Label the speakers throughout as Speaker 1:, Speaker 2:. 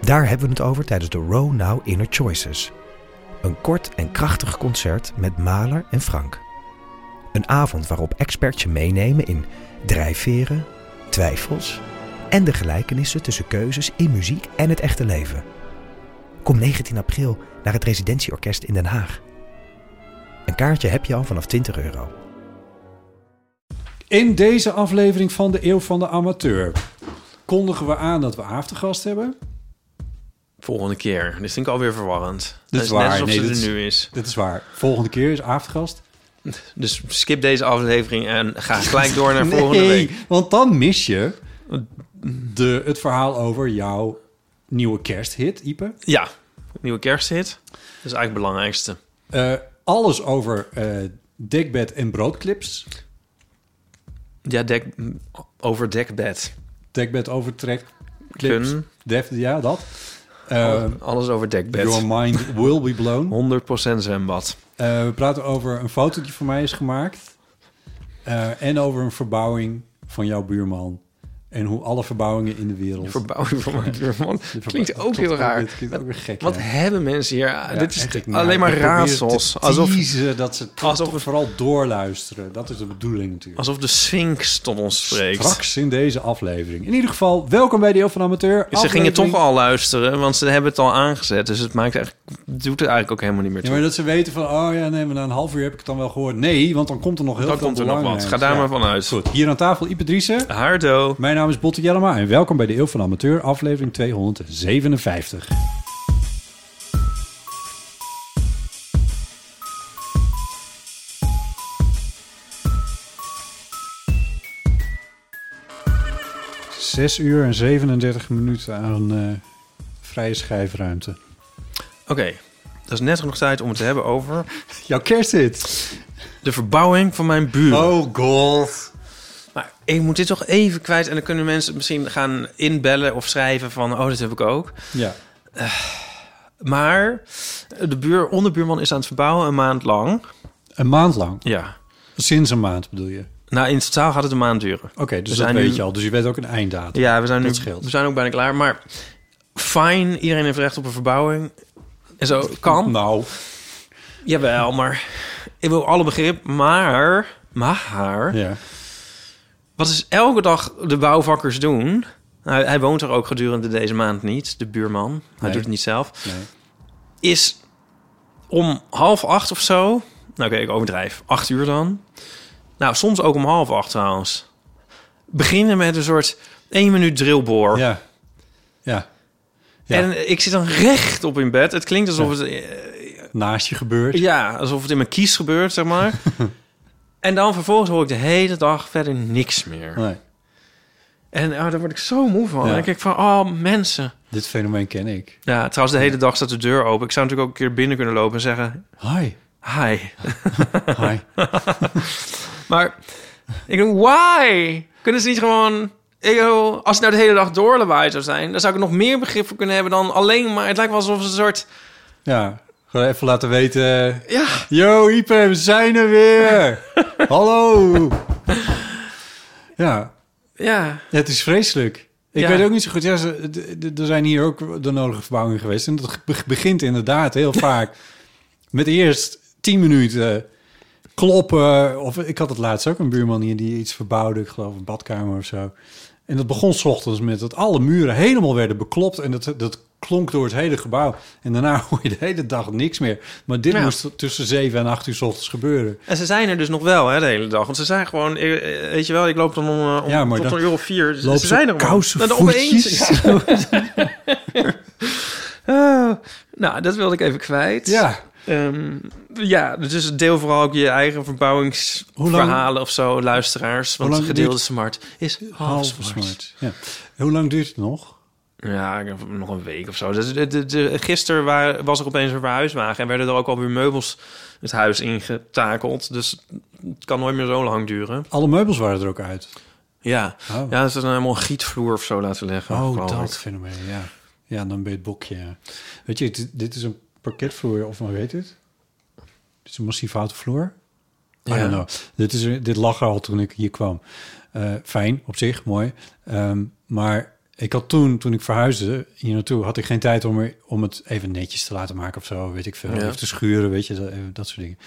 Speaker 1: Daar hebben we het over tijdens de Row Now Inner Choices. Een kort en krachtig concert met Maler en Frank. Een avond waarop experts je meenemen in drijfveren, twijfels en de gelijkenissen tussen keuzes in muziek en het echte leven. Kom 19 april naar het Residentieorkest in Den Haag. Een kaartje heb je al vanaf 20 euro.
Speaker 2: In deze aflevering van de Eeuw van de Amateur kondigen we aan dat we aftergast hebben.
Speaker 3: Volgende keer. Dit vind ik alweer verwarrend.
Speaker 2: Dit
Speaker 3: Dat
Speaker 2: is
Speaker 3: is
Speaker 2: waar,
Speaker 3: net alsof
Speaker 2: nee,
Speaker 3: ze
Speaker 2: dit
Speaker 3: er
Speaker 2: is-
Speaker 3: nu is.
Speaker 2: Dit is waar. Volgende keer is aftergast.
Speaker 3: Dus skip deze aflevering en ga gelijk door naar volgende week.
Speaker 2: want dan mis je de, het verhaal over jouw nieuwe kersthit, Ipe.
Speaker 3: Ja, nieuwe kersthit. Dat is eigenlijk het belangrijkste.
Speaker 2: Eh, alles over eh dekbed en broodclips.
Speaker 3: Ja, dek, over dekbed.
Speaker 2: Dekbed overtrek, clips.
Speaker 3: Kun,
Speaker 2: Def, ja, dat. Eh,
Speaker 3: alles over
Speaker 2: your
Speaker 3: dekbed.
Speaker 2: mind will be blown.
Speaker 3: 100% zwembad.
Speaker 2: Eh, we praten over een fotootje van mij is gemaakt. Eh, en over een verbouwing van jouw buurman. En hoe alle verbouwingen in de wereld...
Speaker 3: Verbouwing van mijn buurman. Klinkt ook
Speaker 2: Tot-
Speaker 3: heel raar.
Speaker 2: Dit klinkt ook weer gek.
Speaker 3: Wat
Speaker 2: hè?
Speaker 3: hebben mensen hier?
Speaker 2: Ja,
Speaker 3: dit is
Speaker 2: echt, ik- nou,
Speaker 3: alleen maar
Speaker 2: ik probeer
Speaker 3: raadsels.
Speaker 2: te
Speaker 3: Alsof,
Speaker 2: teasen dat ze
Speaker 3: alsof-
Speaker 2: alsof we vooral doorluisteren. Dat is de bedoeling natuurlijk.
Speaker 3: alsof de Sphinx tot ons spreekt.
Speaker 2: Straks in deze aflevering. In ieder geval, welkom bij de Eeuw van de Amateur.
Speaker 3: Ze gingen
Speaker 2: aflevering-
Speaker 3: toch al luisteren, want ze hebben het al aangezet. Dus het maakt eigenlijk, doet er eigenlijk ook helemaal niet meer
Speaker 2: Ja,
Speaker 3: toe.
Speaker 2: maar dat ze weten van, oh ja, nee, maar na een half uur heb ik het dan wel gehoord. Nee, want dan komt er nog heel
Speaker 3: dan
Speaker 2: veel
Speaker 3: komt er nog wat.
Speaker 2: belangrijks.
Speaker 3: Ga daar
Speaker 2: Ja.
Speaker 3: maar van uit.
Speaker 2: Goed, hier aan tafel Ipe Driessen.
Speaker 3: Hardo.
Speaker 2: Mijn naam is Botte Jellema en welkom bij de Eeuw van de Amateur, aflevering 257. Zes uur en 37 minuten aan eh, vrije schijfruimte.
Speaker 3: Oké, dat is net genoeg tijd om het te hebben over
Speaker 2: Jouw kersthit.
Speaker 3: de verbouwing van mijn buren.
Speaker 2: Oh god.
Speaker 3: Maar ik moet dit toch even kwijt en dan kunnen mensen misschien gaan inbellen of schrijven van, oh, dat heb ik ook.
Speaker 2: Ja.
Speaker 3: Maar de buur, onderbuurman is aan het verbouwen een maand lang.
Speaker 2: Een maand lang.
Speaker 3: Ja.
Speaker 2: Sinds een maand bedoel je. Oké,
Speaker 3: Nou, in totaal gaat het een maand duren.
Speaker 2: dus
Speaker 3: We
Speaker 2: dat
Speaker 3: zijn
Speaker 2: weet
Speaker 3: nu-
Speaker 2: je al. Dus je weet ook een einddatum.
Speaker 3: Ja, we zijn nu
Speaker 2: Dat scheelt.
Speaker 3: we zijn ook bijna klaar. Maar fijn, iedereen heeft recht op een verbouwing. En zo kan.
Speaker 2: Nou,
Speaker 3: Jawel, maar ik wil alle begrip. Maar, maar,
Speaker 2: ja.
Speaker 3: wat is elke dag de bouwvakkers doen? Nou, hij woont er ook gedurende deze maand niet, de buurman. Hij
Speaker 2: Nee.
Speaker 3: doet het niet zelf.
Speaker 2: Nee.
Speaker 3: Is om half acht of zo. Nou, oké, ik overdrijf. Acht uur dan. Nou, soms ook om half acht trouwens. Beginnen met een soort één minuut drillboor.
Speaker 2: Ja. Ja. Ja.
Speaker 3: En ik zit dan recht op in bed. Het klinkt alsof het eh,
Speaker 2: Naast je gebeurt.
Speaker 3: Ja, alsof het in mijn kies gebeurt, zeg maar. en dan vervolgens hoor ik de hele dag verder niks meer.
Speaker 2: Nee,
Speaker 3: En ah, daar word ik zo moe van.
Speaker 2: Ja.
Speaker 3: Dan denk ik van, oh, mensen.
Speaker 2: dit fenomeen ken ik.
Speaker 3: Ja, trouwens, de hele dag staat de deur open. Ik zou natuurlijk ook een keer binnen kunnen lopen en zeggen,
Speaker 2: Hi.
Speaker 3: hi.
Speaker 2: Hi.
Speaker 3: Maar ik denk, why? Kunnen ze niet gewoon... Ik bedoel, als het nou de hele dag doorlawaai zou zijn... dan zou ik er nog meer begrip voor kunnen hebben dan alleen maar... Het lijkt wel alsof ze een soort...
Speaker 2: ja, gewoon even laten weten.
Speaker 3: Ja,
Speaker 2: Yo, Ipe, we zijn er weer. Hallo. Ja,
Speaker 3: ja.
Speaker 2: het is vreselijk. Ik
Speaker 3: Ja.
Speaker 2: weet ook niet zo goed. Ja, ze- d- d- er zijn hier ook de nodige verbouwingen geweest. En dat be- begint inderdaad heel vaak met eerst tien minuten kloppen. Of ik had het laatst ook een buurman hier die iets verbouwde. Ik geloof een badkamer of zo. En dat begon 's ochtends met dat alle muren helemaal werden beklopt. En dat, dat klonk door het hele gebouw. En daarna hoor je de hele dag niks meer. Maar dit
Speaker 3: Ja.
Speaker 2: moest tussen 7 en 8 uur 's ochtends gebeuren.
Speaker 3: En ze zijn er dus nog wel hè, de hele dag. Want ze zijn gewoon, eh, eh, weet je wel, ik loop dan om, eh, om
Speaker 2: Ja, maar
Speaker 3: tot
Speaker 2: dan
Speaker 3: een uur of vier. Ze
Speaker 2: Loop
Speaker 3: ze zijn er gewoon. Nou,
Speaker 2: kousen
Speaker 3: Maar dan opeens.
Speaker 2: voetjes. Ja.
Speaker 3: Ah, nou, dat wilde ik even kwijt.
Speaker 2: ja.
Speaker 3: Ehm, ja, dus deel vooral ook je eigen
Speaker 2: Hoe lang-
Speaker 3: verbouwingsverhalen of zo, luisteraars. Want
Speaker 2: lang
Speaker 3: gedeelde
Speaker 2: duurt-
Speaker 3: smart is half smart.
Speaker 2: Ja. Hoe lang duurt het nog?
Speaker 3: Ja, ik heb nog een week of zo. Dus, de, de, de- gisteren wa- was er opeens een verhuiswagen en werden er ook alweer meubels het huis ingetakeld. Dus het kan nooit meer zo lang duren.
Speaker 2: Alle meubels waren er ook uit.
Speaker 3: Ja,
Speaker 2: Oh.
Speaker 3: ja ze is helemaal een gietvloer of zo laten leggen.
Speaker 2: Oh,
Speaker 3: geloof
Speaker 2: dat
Speaker 3: ik.
Speaker 2: fenomeen, ja. Ja, dan ben je het bokje. ja. Weet je, dit, dit is een parketvloer, of hoe weet het? Dit is een massief houten vloer. I
Speaker 3: Ja.
Speaker 2: don't know. Dit, is, dit lag er al toen ik hier kwam. Eh, fijn, op zich, mooi. Ehm, maar ik had toen, toen ik verhuisde hier naartoe... had ik geen tijd om, er, om het even netjes te laten maken of zo, weet ik veel.
Speaker 3: Ja.
Speaker 2: Of te schuren, weet je, dat, eh, dat soort dingen.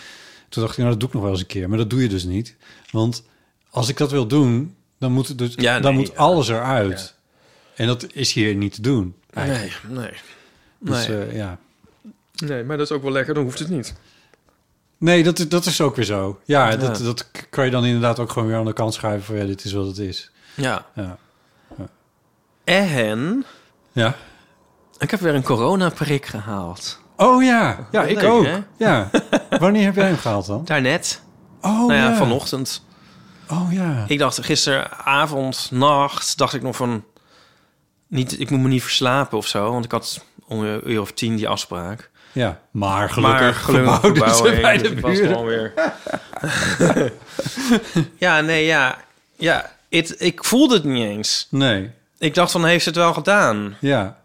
Speaker 2: Toen dacht ik, nou, dat doe ik nog wel eens een keer. Maar dat doe je dus niet. Want als ik dat wil doen, dan moet, het dus,
Speaker 3: Ja,
Speaker 2: dan
Speaker 3: nee,
Speaker 2: moet
Speaker 3: ja.
Speaker 2: alles eruit. En dat is hier niet te doen. eigenlijk.
Speaker 3: Nee, nee.
Speaker 2: Dus,
Speaker 3: nee.
Speaker 2: eh, ja.
Speaker 3: nee, maar dat is ook wel lekker, dan hoeft het niet.
Speaker 2: nee dat, dat is ook weer zo. Ja, Dat,
Speaker 3: Ja.
Speaker 2: dat k- kan je dan inderdaad ook gewoon weer aan de kant schuiven. Van, ja, dit is wat het is.
Speaker 3: Ja.
Speaker 2: Ja.
Speaker 3: En
Speaker 2: ja.
Speaker 3: ik heb weer een coronaprik gehaald.
Speaker 2: Oh ja, ja
Speaker 3: Wat
Speaker 2: ik
Speaker 3: leuk,
Speaker 2: ook.
Speaker 3: hè?
Speaker 2: Ja. Wanneer heb jij hem gehaald dan?
Speaker 3: Daarnet,
Speaker 2: Oh
Speaker 3: nou ja,
Speaker 2: ja.
Speaker 3: vanochtend.
Speaker 2: Oh ja.
Speaker 3: Ik dacht gisteravond, nacht, dacht ik nog van... Niet, ik moet me niet verslapen of zo, want ik had om een uur of tien die afspraak.
Speaker 2: ja. Maar gelukkig,
Speaker 3: maar gelukkig
Speaker 2: verbouwden
Speaker 3: gebouw
Speaker 2: ze
Speaker 3: heen,
Speaker 2: bij
Speaker 3: dus
Speaker 2: de
Speaker 3: het was
Speaker 2: buren.
Speaker 3: gewoon weer. ja, nee, ja. ja het, ik voelde het niet eens.
Speaker 2: Nee,
Speaker 3: Ik dacht van, heeft ze het wel gedaan?
Speaker 2: ja.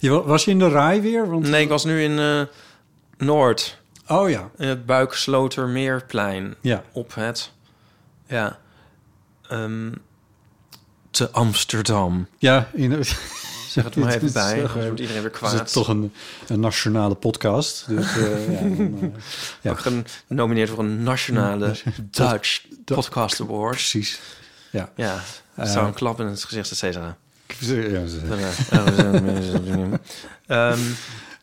Speaker 2: Je, wa- was je in de rij weer? Want...
Speaker 3: Nee, ik was nu in eh, Noord,
Speaker 2: Oh ja.
Speaker 3: in het Buikslotermeerplein.
Speaker 2: Ja.
Speaker 3: op het. Ja. ehm, te Amsterdam.
Speaker 2: Ja, in,
Speaker 3: Zeg het maar
Speaker 2: Dit
Speaker 3: even
Speaker 2: is
Speaker 3: bij. eh,
Speaker 2: zo
Speaker 3: anders
Speaker 2: erg.
Speaker 3: wordt iedereen weer
Speaker 2: is
Speaker 3: kwaad.
Speaker 2: het toch een, een nationale podcast. Dus, eh, ja, dan, eh, ja.
Speaker 3: Ook genomineerd voor een nationale Dutch Podcast Award.
Speaker 2: precies. Eh. Ja.
Speaker 3: Ja, dat zou een klap in het gezicht, et cetera. Eh, Ehm,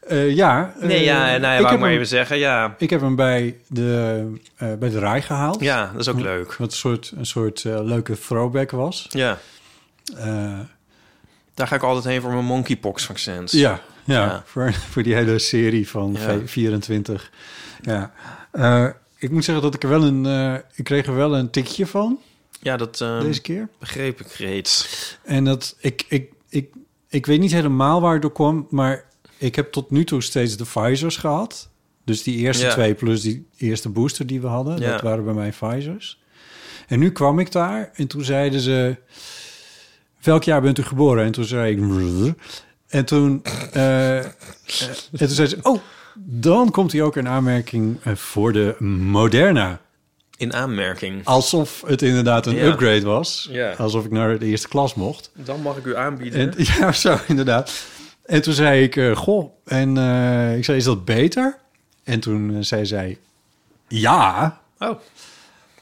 Speaker 2: Eh, ja. eh,
Speaker 3: nee, ja, nou ja,
Speaker 2: ik,
Speaker 3: wou
Speaker 2: heb
Speaker 3: ik maar
Speaker 2: hem,
Speaker 3: even zeggen. Ja,
Speaker 2: ik heb hem bij de, eh, bij de RAI gehaald.
Speaker 3: ja, dat is ook leuk.
Speaker 2: Wat een soort, een soort eh, leuke throwback was.
Speaker 3: Ja,
Speaker 2: Eh,
Speaker 3: daar ga ik altijd heen voor mijn monkeypox vaccins.
Speaker 2: ja, ja,
Speaker 3: Ja.
Speaker 2: Voor, voor die hele serie van
Speaker 3: Ja.
Speaker 2: ve- 24. Ja. Eh, ik moet zeggen dat ik er wel een... eh, ik kreeg er wel een tikje van
Speaker 3: ja dat ehm,
Speaker 2: deze keer.
Speaker 3: begreep ik reeds.
Speaker 2: En dat ik, ik, ik, ik weet niet helemaal waar het door kwam, maar ik heb tot nu toe steeds de Pfizer's gehad. Dus die eerste
Speaker 3: Ja.
Speaker 2: twee plus die eerste booster die we hadden,
Speaker 3: Ja.
Speaker 2: dat waren bij mij Pfizer's. En nu kwam ik daar en toen zeiden ze, welk jaar bent u geboren? En toen zei ik, en toen, eh, eh, en toen zeiden ze, oh, dan komt hij ook in aanmerking eh, voor de Moderna.
Speaker 3: In aanmerking.
Speaker 2: Alsof het inderdaad een
Speaker 3: Ja.
Speaker 2: upgrade was.
Speaker 3: Ja.
Speaker 2: Alsof ik naar de eerste klas mocht.
Speaker 3: Dan mag ik u aanbieden.
Speaker 2: En, ja, zo inderdaad. En toen zei ik, eh, goh, en eh, ik zei, is dat beter? En toen eh, zei zij, ja.
Speaker 3: Oh,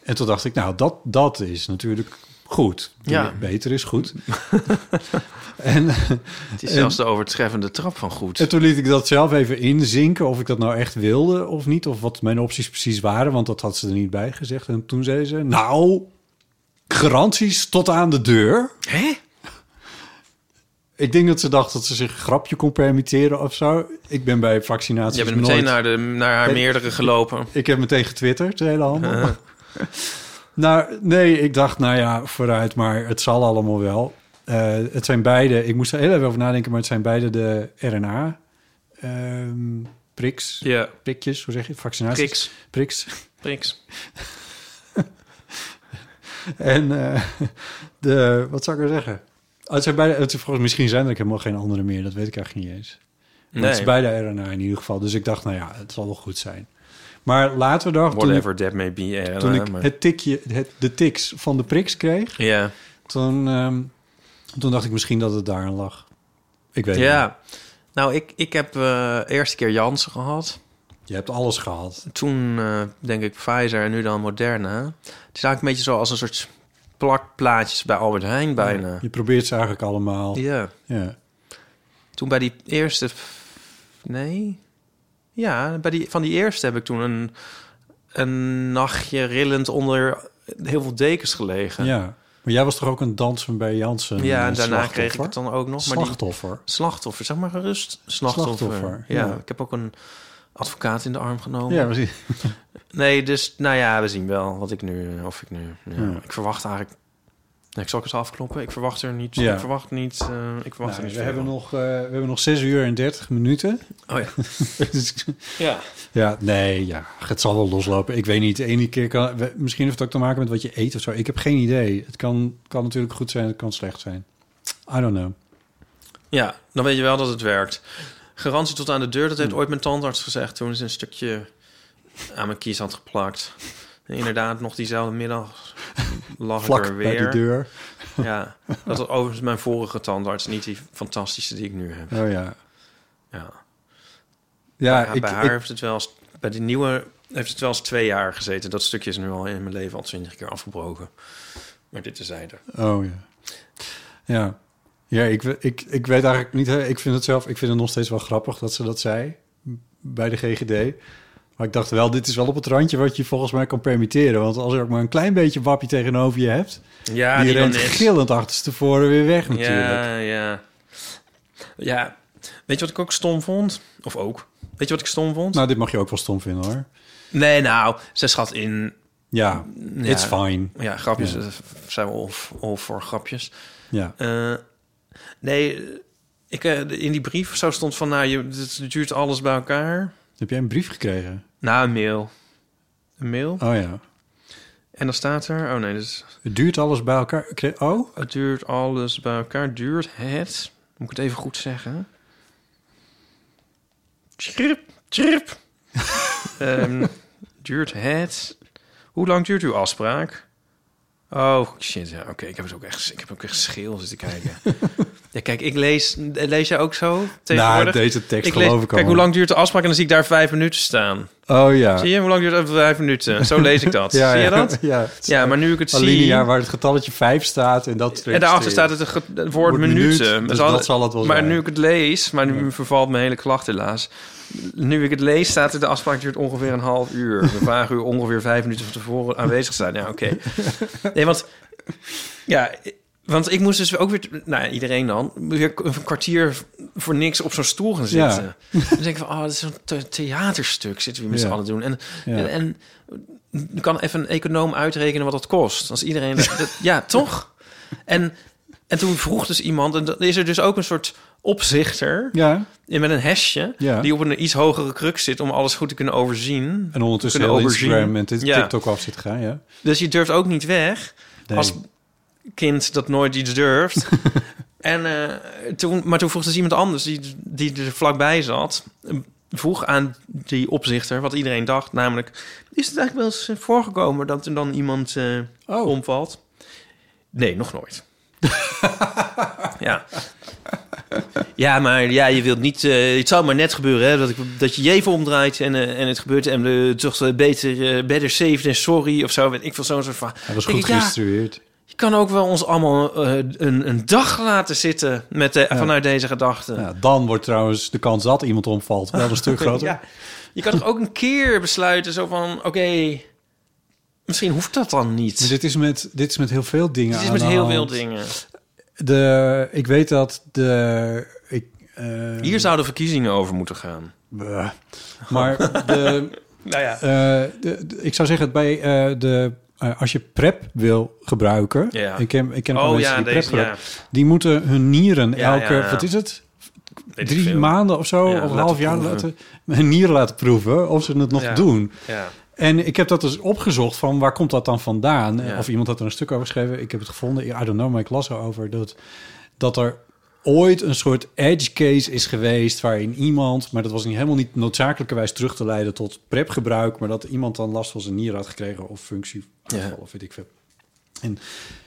Speaker 2: En toen dacht ik, nou, dat, dat is natuurlijk goed.
Speaker 3: Ja.
Speaker 2: Beter is goed. en,
Speaker 3: het is zelfs
Speaker 2: Ehm,
Speaker 3: de overtreffende trap van goed.
Speaker 2: en toen liet ik dat zelf even inzinken, of ik dat nou echt wilde of niet. Of wat mijn opties precies waren, want dat had ze er niet bij gezegd. En toen zei ze, nou, garanties tot aan de deur.
Speaker 3: Hè?
Speaker 2: Ik denk dat ze dacht dat ze zich een grapje kon permitteren of zo. Ik ben bij vaccinaties
Speaker 3: Je bent
Speaker 2: nooit...
Speaker 3: meteen naar, de, naar haar meerdere gelopen.
Speaker 2: Ik heb meteen getwitterd, de hele handel. nou, nee, ik dacht, nou ja, vooruit, maar het zal allemaal wel. Eh, het zijn beide, ik moest er heel even over nadenken, maar het zijn beide de RNA ehm, priks,
Speaker 3: Ja.
Speaker 2: prikjes, hoe zeg je, vaccinaties?
Speaker 3: Priks.
Speaker 2: Priks.
Speaker 3: Priks.
Speaker 2: En eh, de, wat zou ik er zeggen? Oh, het zijn beide, het, volgens, misschien zijn er ook helemaal geen andere meer, dat weet ik eigenlijk niet eens. Maar
Speaker 3: Nee.
Speaker 2: Het is bij de RNA in ieder geval. Dus ik dacht, nou ja, het zal wel goed zijn. Maar later dacht toen ik,
Speaker 3: Whatever that may be. eh,
Speaker 2: toen ik
Speaker 3: maar-
Speaker 2: het tikje, het, de tiks van de priks kreeg,
Speaker 3: Ja.
Speaker 2: toen, ehm, toen dacht ik misschien dat het daaraan lag. Ik weet het
Speaker 3: ja. Nou, ik, ik heb eh eerste keer Janssen gehad.
Speaker 2: niet. Je hebt alles gehad.
Speaker 3: Toen eh, denk ik Pfizer en nu dan Moderna. Het is eigenlijk een beetje zo als een soort plakplaatjes bij Albert Heijn bijna.
Speaker 2: Je probeert ze eigenlijk allemaal. Ja.
Speaker 3: Ja. Toen bij die eerste... Nee? Ja, bij die, van die eerste heb ik toen een, een nachtje rillend onder heel veel dekens gelegen.
Speaker 2: Ja. Maar jij was toch ook een danser bij Jansen?
Speaker 3: Ja, en
Speaker 2: eh,
Speaker 3: daarna
Speaker 2: slachtoffer?
Speaker 3: kreeg ik het dan ook nog. Maar die
Speaker 2: Slachtoffer.
Speaker 3: slachtoffer, zeg maar gerust. Slachtoffer.
Speaker 2: Slachtoffer,
Speaker 3: ja.
Speaker 2: ja.
Speaker 3: ik heb ook een advocaat in de arm genomen.
Speaker 2: Ja, precies.
Speaker 3: Nee, dus nou ja, we zien wel wat ik nu, of ik nu. Ja.
Speaker 2: Ja.
Speaker 3: Ik verwacht eigenlijk Nou, ik zal het eens afkloppen. Ik verwacht er niet.
Speaker 2: Ja.
Speaker 3: Ik verwacht niet. eh, ik verwacht
Speaker 2: Nou,
Speaker 3: er
Speaker 2: we,
Speaker 3: niet. veel.
Speaker 2: hebben nog, eh, we hebben nog 6 uur en 30 minuten.
Speaker 3: Oh ja.
Speaker 2: Dus-
Speaker 3: ja.
Speaker 2: ja, nee, ja, het zal wel loslopen. Ik weet niet, de ene keer kan... we- Misschien heeft het ook te maken met wat je eet of zo. Ik heb geen idee. Het kan, kan natuurlijk goed zijn, het kan slecht zijn. I don't know.
Speaker 3: Ja, dan weet je wel dat het werkt. Garantie tot aan de deur, dat
Speaker 2: Hm.
Speaker 3: heeft ooit mijn tandarts gezegd toen ze een stukje aan mijn kies had geplakt. En inderdaad, nog diezelfde middag lag ik er
Speaker 2: Vlak bij
Speaker 3: weer.
Speaker 2: de deur.
Speaker 3: Ja, dat was overigens mijn vorige tandarts, niet die fantastische die ik nu heb.
Speaker 2: Oh ja.
Speaker 3: Ja.
Speaker 2: Ja,
Speaker 3: Ja,
Speaker 2: ik,
Speaker 3: bij haar
Speaker 2: ik-
Speaker 3: heeft het wel eens, bij die nieuwe heeft het wel eens twee jaar gezeten. Dat stukje is nu al in mijn leven al twintig keer afgebroken. Maar dit is zijde.
Speaker 2: Oh ja. Ja. Ja, ik, we- ik, ik weet eigenlijk niet. hè, Ik vind het zelf, ik vind het nog steeds wel grappig dat ze dat zei m, bij de GGD. Maar ik dacht wel, dit is wel op het randje wat je volgens mij kan permitteren. Want als er ook maar een klein beetje wapje tegenover je hebt,
Speaker 3: Ja,
Speaker 2: die,
Speaker 3: die dan
Speaker 2: rent
Speaker 3: is.
Speaker 2: gillend achterstevoren weer weg natuurlijk.
Speaker 3: Ja, ja. Ja, weet je wat ik ook stom vond? Of ook? Weet je wat ik stom vond?
Speaker 2: Nou, dit mag je ook wel stom vinden hoor.
Speaker 3: nee, nou, ze schat in...
Speaker 2: Ja,
Speaker 3: Ja.
Speaker 2: it's fine.
Speaker 3: Ja, grapjes
Speaker 2: Ja.
Speaker 3: eh, zijn we of, of voor grapjes.
Speaker 2: Ja.
Speaker 3: Eh, nee, ik, eh, in die brief of zo stond van... Nou, je, het duurt alles bij elkaar.
Speaker 2: Heb jij een brief gekregen?
Speaker 3: Nou, een mail. Een mail.
Speaker 2: Oh ja.
Speaker 3: En dan staat er... Oh nee, dus
Speaker 2: Het duurt alles bij elkaar. Kre- Oh?
Speaker 3: het duurt alles bij elkaar. Duurt het... Moet ik het even goed zeggen? Chirp, chirp. Ehm, duurt het... Hoe lang duurt uw afspraak? Oh, shit. Ja, Oké, ik heb het ook echt... Ik heb ook echt scheel zitten kijken. ja, kijk, ik lees... Lees jij ook zo
Speaker 2: Nou,
Speaker 3: tegenwoordig?
Speaker 2: deze tekst
Speaker 3: ik lees,
Speaker 2: geloof ik al.
Speaker 3: Kijk, hoe lang duurt de afspraak? En dan zie ik daar vijf minuten staan.
Speaker 2: Oh ja.
Speaker 3: Zie je? Hoe lang duurt het? Vijf minuten. Zo lees ik dat.
Speaker 2: ja,
Speaker 3: zie je
Speaker 2: ja,
Speaker 3: dat?
Speaker 2: Ja.
Speaker 3: Ja, maar nu ik het
Speaker 2: Een
Speaker 3: zie...
Speaker 2: lineaar waar het getalletje 5 staat en dat
Speaker 3: En daarachter staat het, ge- het woord
Speaker 2: Wordt
Speaker 3: minuten.
Speaker 2: minuut,
Speaker 3: Het
Speaker 2: dus
Speaker 3: had-
Speaker 2: dat zal het wel
Speaker 3: maar
Speaker 2: zijn.
Speaker 3: nu ik het lees, maar nu vervalt mijn hele klacht helaas. Nu ik het lees, staat er de afspraak duurt ongeveer een half uur. We vragen u ongeveer vijf minuten van tevoren aanwezig te zijn. Ja, oké. Nee, want... Ja, want ik moest dus ook weer... Nou, ja, iedereen dan. Weer een kwartier voor niks op zo'n stoel gaan
Speaker 2: Ja.
Speaker 3: zitten. Dan denk ik van, oh, dat is een the- theaterstuk zitten we met
Speaker 2: Ja.
Speaker 3: z'n allen doen. En,
Speaker 2: Ja.
Speaker 3: en, en je kan even een econoom uitrekenen wat dat kost. Als iedereen... dat- ja, toch? En, en toen vroeg dus iemand... En dan is er dus ook een soort opzichter
Speaker 2: Ja,
Speaker 3: in- met een hesje...
Speaker 2: Ja.
Speaker 3: die op een iets hogere kruk zit om alles goed te kunnen overzien.
Speaker 2: en ondertussen
Speaker 3: Kunnen
Speaker 2: heel
Speaker 3: overzien.
Speaker 2: Instagram en dit
Speaker 3: Ja.
Speaker 2: TikTok af zit gaan, ja.
Speaker 3: Dus je durft ook niet weg
Speaker 2: Nee.
Speaker 3: als kind dat nooit iets durft. en, eh, toen, maar toen vroeg dus iemand anders die, die er vlakbij zat... eh, vroeg aan die opzichter wat iedereen dacht. Namelijk, is het eigenlijk wel eens eh, voorgekomen dat er dan iemand eh,
Speaker 2: Oh.
Speaker 3: omvalt? Nee, nog nooit. ja. ja, maar ja, je wilt niet... eh, het zou maar net gebeuren hè, dat, ik, dat je je even omdraait en, eh, en het gebeurt. En de toch eh, beter, eh better safe than sorry of zo. Weet ik veel zo'n soort van...
Speaker 2: Hij was
Speaker 3: Denk
Speaker 2: goed
Speaker 3: ik, ja,
Speaker 2: geïnstrueerd.
Speaker 3: je kan ook wel ons allemaal eh, een, een dag laten zitten met de, vanuit deze gedachten.
Speaker 2: Ja. dan wordt trouwens de kans dat iemand omvalt wel een stuk groter.
Speaker 3: Ja. Je kan toch ook een keer besluiten zo van... oké, misschien hoeft dat dan niet.
Speaker 2: Maar dit is, met, dit is met heel veel dingen
Speaker 3: Dit is
Speaker 2: aan
Speaker 3: met
Speaker 2: de
Speaker 3: heel
Speaker 2: hand.
Speaker 3: veel dingen.
Speaker 2: De, ik weet dat de... Ik, eh,
Speaker 3: Hier zouden verkiezingen over moeten gaan.
Speaker 2: bleh. maar de,
Speaker 3: Nou ja.
Speaker 2: eh, de, de- ik zou zeggen, bij eh, de, eh, als je PrEP wil gebruiken...
Speaker 3: Ja.
Speaker 2: Ik ken, ik ken ook
Speaker 3: Oh
Speaker 2: mensen
Speaker 3: ja,
Speaker 2: die PrEP
Speaker 3: deze, ja.
Speaker 2: gebruiken. Die moeten hun nieren
Speaker 3: Ja,
Speaker 2: elke,
Speaker 3: ja, ja.
Speaker 2: wat is het?
Speaker 3: Weet ik
Speaker 2: drie
Speaker 3: veel.
Speaker 2: maanden of zo,
Speaker 3: Ja,
Speaker 2: of een
Speaker 3: laten
Speaker 2: half jaar
Speaker 3: proeven.
Speaker 2: laten hun nieren laten proeven of ze het nog
Speaker 3: Ja.
Speaker 2: doen.
Speaker 3: Ja.
Speaker 2: En ik heb dat dus opgezocht van waar komt dat dan vandaan?
Speaker 3: Ja.
Speaker 2: Of iemand had er een stuk over geschreven. Ik heb het gevonden. I don't know, maar ik las erover dat, dat er ooit een soort edge case is geweest waarin iemand, maar dat was niet, helemaal niet noodzakelijkerwijs terug te leiden tot prepgebruik, maar dat iemand dan last van zijn nier had gekregen of functie
Speaker 3: Ja.
Speaker 2: of weet ik veel. En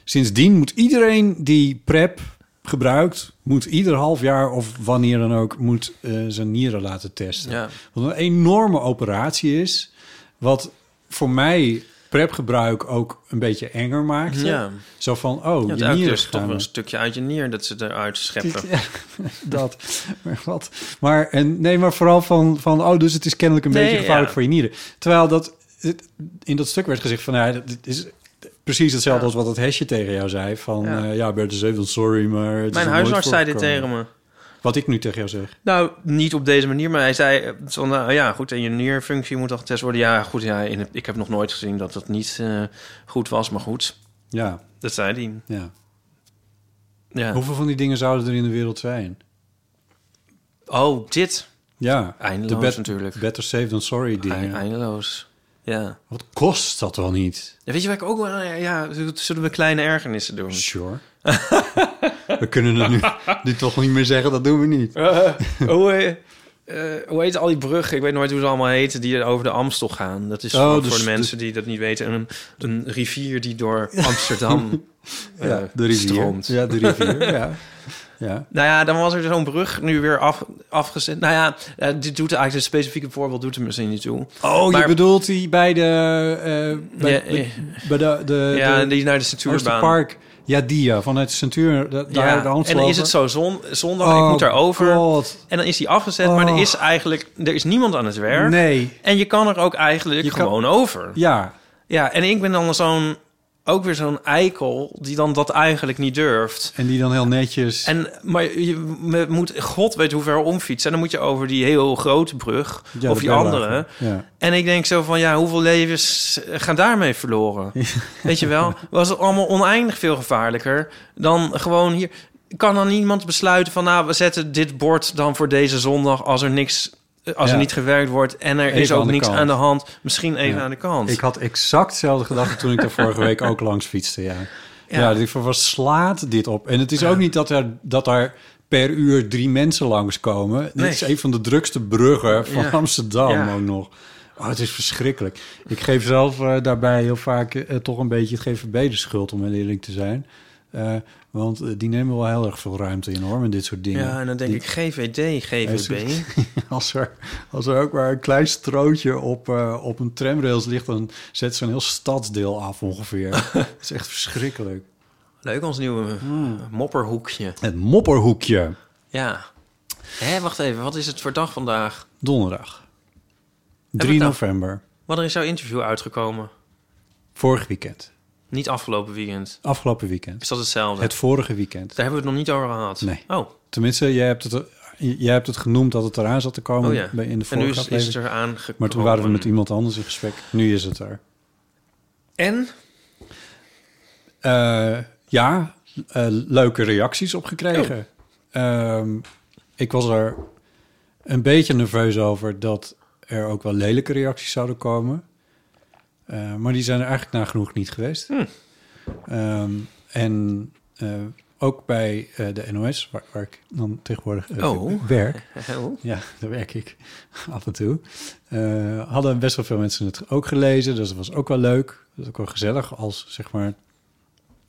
Speaker 2: sindsdien moet iedereen die prep gebruikt, moet ieder half jaar of wanneer dan ook, moet eh, zijn nieren laten testen.
Speaker 3: Ja.
Speaker 2: Wat een enorme operatie is, wat voor mij prepgebruik ook een beetje enger maakte.
Speaker 3: Ja.
Speaker 2: Zo van, oh,
Speaker 3: Ja, het
Speaker 2: je
Speaker 3: eigenlijk
Speaker 2: nieren
Speaker 3: dus toch
Speaker 2: gaan
Speaker 3: wel een
Speaker 2: we-
Speaker 3: stukje uit je nier dat ze eruit scheppen.
Speaker 2: Ja, dat. Maar wat? Maar, en, nee, maar vooral van, van, oh, dus het is kennelijk een
Speaker 3: Nee,
Speaker 2: beetje gevaarlijk
Speaker 3: ja.
Speaker 2: voor je nieren. Terwijl dat het- in dat stuk werd gezegd van, nou, ja, dit is precies hetzelfde
Speaker 3: Ja.
Speaker 2: als wat dat hesje tegen jou zei. Van,
Speaker 3: Ja.
Speaker 2: ja, ja Bert is even sorry, maar... het is
Speaker 3: Mijn
Speaker 2: nog
Speaker 3: huisarts zei
Speaker 2: nooit
Speaker 3: dit
Speaker 2: voorgekomen.
Speaker 3: tegen me.
Speaker 2: Wat ik nu tegen jou zeg.
Speaker 3: Nou, niet op deze manier, maar hij zei eh, van, nou ja, goed, en je nierfunctie moet al getest worden. Ja, goed, ja, in het- ik heb nog nooit gezien dat dat niet eh, goed was, maar goed.
Speaker 2: Ja.
Speaker 3: Dat zei hij.
Speaker 2: Ja.
Speaker 3: Ja.
Speaker 2: Hoeveel van die dingen zouden er in de wereld zijn?
Speaker 3: Oh, dit.
Speaker 2: Ja,
Speaker 3: Eindeloos
Speaker 2: de bet-
Speaker 3: natuurlijk.
Speaker 2: Better safe than sorry dingen.
Speaker 3: Eindeloos. Ja.
Speaker 2: Wat kost dat wel niet?
Speaker 3: Ja, Weet je waar ik ook wel... eh, Ja, zullen we kleine ergernissen doen?
Speaker 2: Sure. we kunnen het nu, nu toch niet meer zeggen, dat doen we niet.
Speaker 3: Eh, hoe, eh, eh, hoe heet al die bruggen? Ik weet nooit hoe ze allemaal heten die er over de Amstel gaan. Dat is
Speaker 2: Oh,
Speaker 3: voor,
Speaker 2: dus
Speaker 3: voor de
Speaker 2: de-
Speaker 3: mensen die dat niet weten. Een, een rivier die door Amsterdam eh, stroomt.
Speaker 2: Ja, de rivier, ja. ja.
Speaker 3: Nou ja, dan was er zo'n brug nu weer af, afgezet. Nou ja, eh, dit doet eigenlijk, een specifieke voorbeeld doet er misschien niet toe.
Speaker 2: Oh,
Speaker 3: Maar-
Speaker 2: je bedoelt die bij de... eh, bij,
Speaker 3: Ja,
Speaker 2: bij-
Speaker 3: eh.
Speaker 2: bij de, de,
Speaker 3: ja,
Speaker 2: de
Speaker 3: die naar de centuurbaan.
Speaker 2: Oosterpark. Ja, die ja, vanuit de centuur, da- daar de
Speaker 3: Ja,
Speaker 2: Amstel
Speaker 3: en dan is
Speaker 2: over.
Speaker 3: het zo zon, zondag,
Speaker 2: Oh,
Speaker 3: ik moet daarover.
Speaker 2: God.
Speaker 3: En dan is die afgezet, maar er
Speaker 2: Oh.
Speaker 3: is eigenlijk er is niemand aan het werk.
Speaker 2: Nee,
Speaker 3: En je kan er ook eigenlijk
Speaker 2: Je kan-
Speaker 3: gewoon over.
Speaker 2: ja.
Speaker 3: Ja, en ik ben dan zo'n ook weer zo'n eikel die dan dat eigenlijk niet durft.
Speaker 2: En die dan heel netjes...
Speaker 3: En, maar je we moet, god weet hoe ver omfietsen. En dan moet je over die heel grote brug
Speaker 2: Ja,
Speaker 3: of
Speaker 2: dat
Speaker 3: die
Speaker 2: wel
Speaker 3: andere.
Speaker 2: lager. Ja.
Speaker 3: En ik denk zo van, ja, hoeveel levens gaan daarmee verloren? Weet je wel? Was het allemaal oneindig veel gevaarlijker dan gewoon hier... Kan dan niemand besluiten van, nou, we zetten dit bord dan voor deze zondag... als er niks, als er
Speaker 2: Ja.
Speaker 3: niet gewerkt wordt en er
Speaker 2: Even
Speaker 3: is ook
Speaker 2: aan de
Speaker 3: niks
Speaker 2: kant.
Speaker 3: aan de hand. Misschien even
Speaker 2: Ja.
Speaker 3: aan de kant.
Speaker 2: Ik had exact dezelfde gedachte toen ik daar vorige week ook langs fietste. Ja, ja. dat ik van, wat slaat dit op? En het is ook niet dat er, dat er per uur drie mensen langskomen. Dit
Speaker 3: Nee.
Speaker 2: is een van de drukste bruggen van
Speaker 3: Ja.
Speaker 2: Amsterdam
Speaker 3: Ja.
Speaker 2: ook nog. Oh, het is verschrikkelijk. Ik geef zelf eh, daarbij heel vaak eh, toch een beetje het GVB de schuld, om heel eerlijk te zijn. Eh, want eh, die nemen wel heel erg veel ruimte in, hoor, met dit soort dingen.
Speaker 3: Ja, en dan denk
Speaker 2: Die-
Speaker 3: ik GVD, GVB.
Speaker 2: Als er, als er ook maar een klein strootje op, eh, op een tramrails ligt, dan zet ze een heel stadsdeel af ongeveer. Dat is echt verschrikkelijk.
Speaker 3: Leuk, ons nieuwe
Speaker 2: Hmm.
Speaker 3: mopperhoekje.
Speaker 2: Het mopperhoekje.
Speaker 3: Ja. Hé, wacht even. Wat is het voor dag vandaag?
Speaker 2: Donderdag.
Speaker 3: we
Speaker 2: 3
Speaker 3: het al-
Speaker 2: november.
Speaker 3: Wat er is jouw interview uitgekomen?
Speaker 2: Vorig weekend.
Speaker 3: Niet afgelopen weekend.
Speaker 2: Afgelopen weekend.
Speaker 3: Is dat hetzelfde?
Speaker 2: Het vorige weekend.
Speaker 3: Daar hebben we het nog niet over gehad.
Speaker 2: Nee.
Speaker 3: Oh,
Speaker 2: Tenminste, jij hebt het, jij hebt het genoemd dat het eraan zat te komen
Speaker 3: oh ja.
Speaker 2: bij- in de
Speaker 3: en nu
Speaker 2: vorige
Speaker 3: is, is
Speaker 2: aflevering.
Speaker 3: het er aangekomen.
Speaker 2: Maar toen waren we met iemand anders in gesprek. Nu is het er.
Speaker 3: En?
Speaker 2: Eh, ja, eh, leuke reacties op gekregen. Ehm, ik was er een beetje nerveus over dat er ook wel lelijke reacties zouden komen. Eh, maar die zijn er eigenlijk nagenoeg niet geweest. Ehm, en eh, ook bij eh, de NOS, waar, waar ik dan tegenwoordig eh,
Speaker 3: Oh.
Speaker 2: werk.
Speaker 3: Oh.
Speaker 2: Ja, daar werk ik af en toe. Eh, hadden best wel veel mensen het ook gelezen, dus dat was ook wel leuk. Dat was ook wel gezellig als, zeg maar,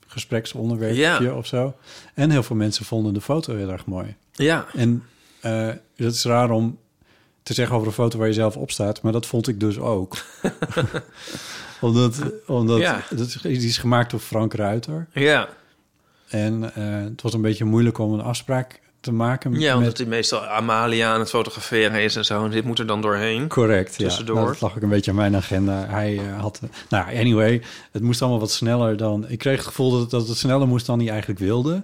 Speaker 2: gespreksonderwerpje
Speaker 3: Ja.
Speaker 2: of zo. En heel veel mensen vonden de foto heel erg mooi.
Speaker 3: Ja.
Speaker 2: En eh, dat is raar om te zeggen over een foto waar je zelf op staat, maar dat vond ik dus ook. omdat omdat
Speaker 3: Ja.
Speaker 2: dat is, die is gemaakt door Frank Ruiter.
Speaker 3: Ja.
Speaker 2: En eh, het was een beetje moeilijk om een afspraak te maken.
Speaker 3: Ja,
Speaker 2: met,
Speaker 3: omdat hij meestal Amalia aan het fotograferen is en zo. En dit moet er dan doorheen.
Speaker 2: Correct,
Speaker 3: Tussendoor.
Speaker 2: ja. Nou, dat lag ook een beetje aan mijn agenda. Hij eh, had... eh, nou, anyway, het moest allemaal wat sneller dan... Ik kreeg het gevoel dat, dat het sneller moest dan hij eigenlijk wilde.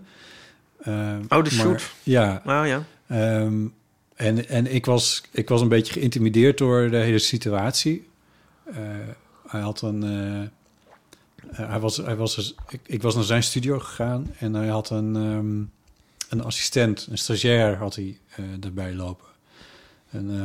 Speaker 2: Eh,
Speaker 3: Oh, de
Speaker 2: maar-
Speaker 3: shoot.
Speaker 2: Ja.
Speaker 3: Nou ja.
Speaker 2: ehm, en en ik, was, ik was een beetje geïntimideerd door de hele situatie. Eh, hij had een... eh, eh, hij was, hij was dus- ik, ik was naar zijn studio gegaan en hij had een, ehm, een assistent, een stagiair had hij eh erbij lopen. Een, eh,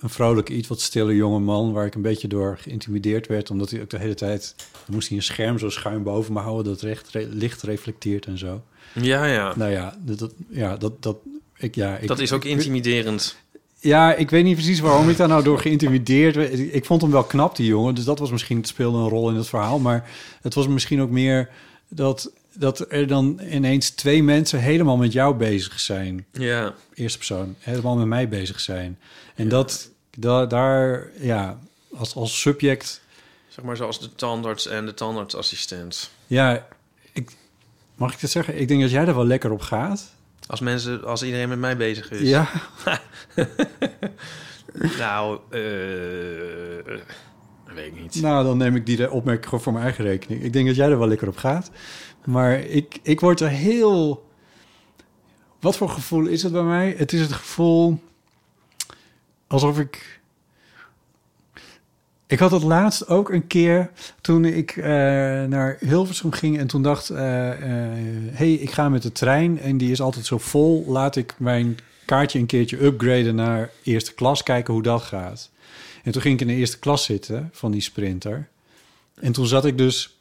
Speaker 2: een vrolijke, iets wat stille jonge man waar ik een beetje door geïntimideerd werd. Omdat hij ook de hele tijd, dan moest hij een scherm zo schuin boven me houden dat recht, re- licht reflecteert en zo.
Speaker 3: Ja, ja.
Speaker 2: Nou ja, dat, dat- ja, dat, dat, ik, ja, ik,
Speaker 3: dat is ook
Speaker 2: ik-
Speaker 3: intimiderend.
Speaker 2: ja, ik weet niet precies waarom ik daar nou door geïntimideerd werd. Ik ik vond hem wel knap, die jongen. Dus dat was misschien, het speelde een rol in het verhaal. Maar het was misschien ook meer dat, dat er dan ineens twee mensen helemaal met jou bezig zijn.
Speaker 3: Ja.
Speaker 2: Eerste persoon, helemaal met mij bezig zijn. En dat, da- daar, ja, als, als subject
Speaker 3: Zeg maar zoals de tandarts en de tandartsassistent.
Speaker 2: Ja, ik, mag ik dat zeggen? Ik denk dat jij er wel lekker op gaat.
Speaker 3: Als mensen, als iedereen met mij bezig is.
Speaker 2: Ja.
Speaker 3: Nou, eh, eh, dat weet ik niet.
Speaker 2: Nou, dan neem ik die opmerking gewoon voor mijn eigen rekening. Ik denk dat jij er wel lekker op gaat. Maar ik, ik word er heel... Wat voor gevoel is het bij mij? Het is het gevoel alsof ik... Ik had het laatst ook een keer toen ik eh, naar Hilversum ging en toen dacht: eh, eh, hey, ik ga met de trein en die is altijd zo vol. Laat ik mijn kaartje een keertje upgraden naar eerste klas, kijken hoe dat gaat. En toen ging ik in de eerste klas zitten van die sprinter. En toen zat ik dus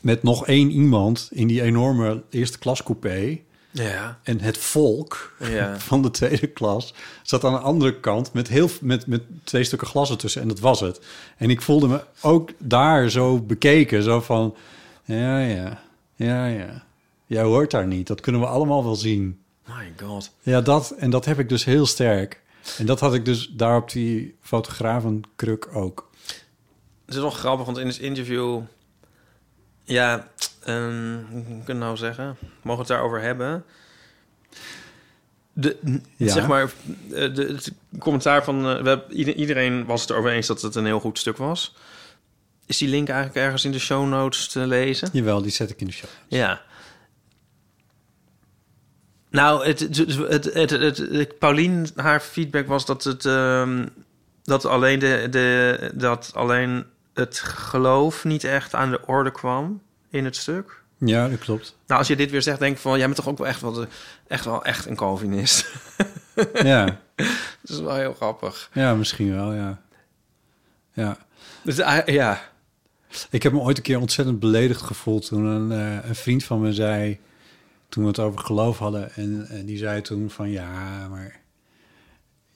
Speaker 2: met nog één iemand in die enorme eerste klas coupé.
Speaker 3: Ja.
Speaker 2: En het volk
Speaker 3: Ja.
Speaker 2: van de tweede klas zat aan de andere kant met, heel, met, met twee stukken glas ertussen. En dat was het. En ik voelde me ook daar zo bekeken. Zo van, ja, ja, ja, ja. Jij hoort daar niet. Dat kunnen we allemaal wel zien.
Speaker 3: My god.
Speaker 2: Ja, dat. En dat heb ik dus heel sterk. En dat had ik dus daar op die fotografenkruk ook.
Speaker 3: Het is wel grappig, want in het interview... Ja, ehm, hoe kun je het nou zeggen? Mogen we het daarover hebben? De,
Speaker 2: Ja.
Speaker 3: Zeg maar, eh, de, het commentaar van... eh, we hebben- ieder- iedereen was het erover eens dat het een heel goed stuk was. Is die link eigenlijk ergens in de show notes te lezen?
Speaker 2: Jawel, die zet ik in de show.
Speaker 3: Ja. Nou, het, het, het, het, het- het- Paulien, haar feedback was dat het ehm, dat alleen de, de dat alleen het geloof niet echt aan de orde kwam in het stuk.
Speaker 2: Ja, dat klopt.
Speaker 3: Nou, als je dit weer zegt, denk ik van, jij bent toch ook wel echt wel, de- echt wel echt een Calvinist.
Speaker 2: Ja,
Speaker 3: dat is wel heel grappig.
Speaker 2: ja misschien wel, ja. Ja.
Speaker 3: Dus, ah, ja.
Speaker 2: Ik heb me ooit een keer ontzettend beledigd gevoeld toen een, eh, een vriend van me zei, toen we het over geloof hadden, en, en die zei toen van ja, maar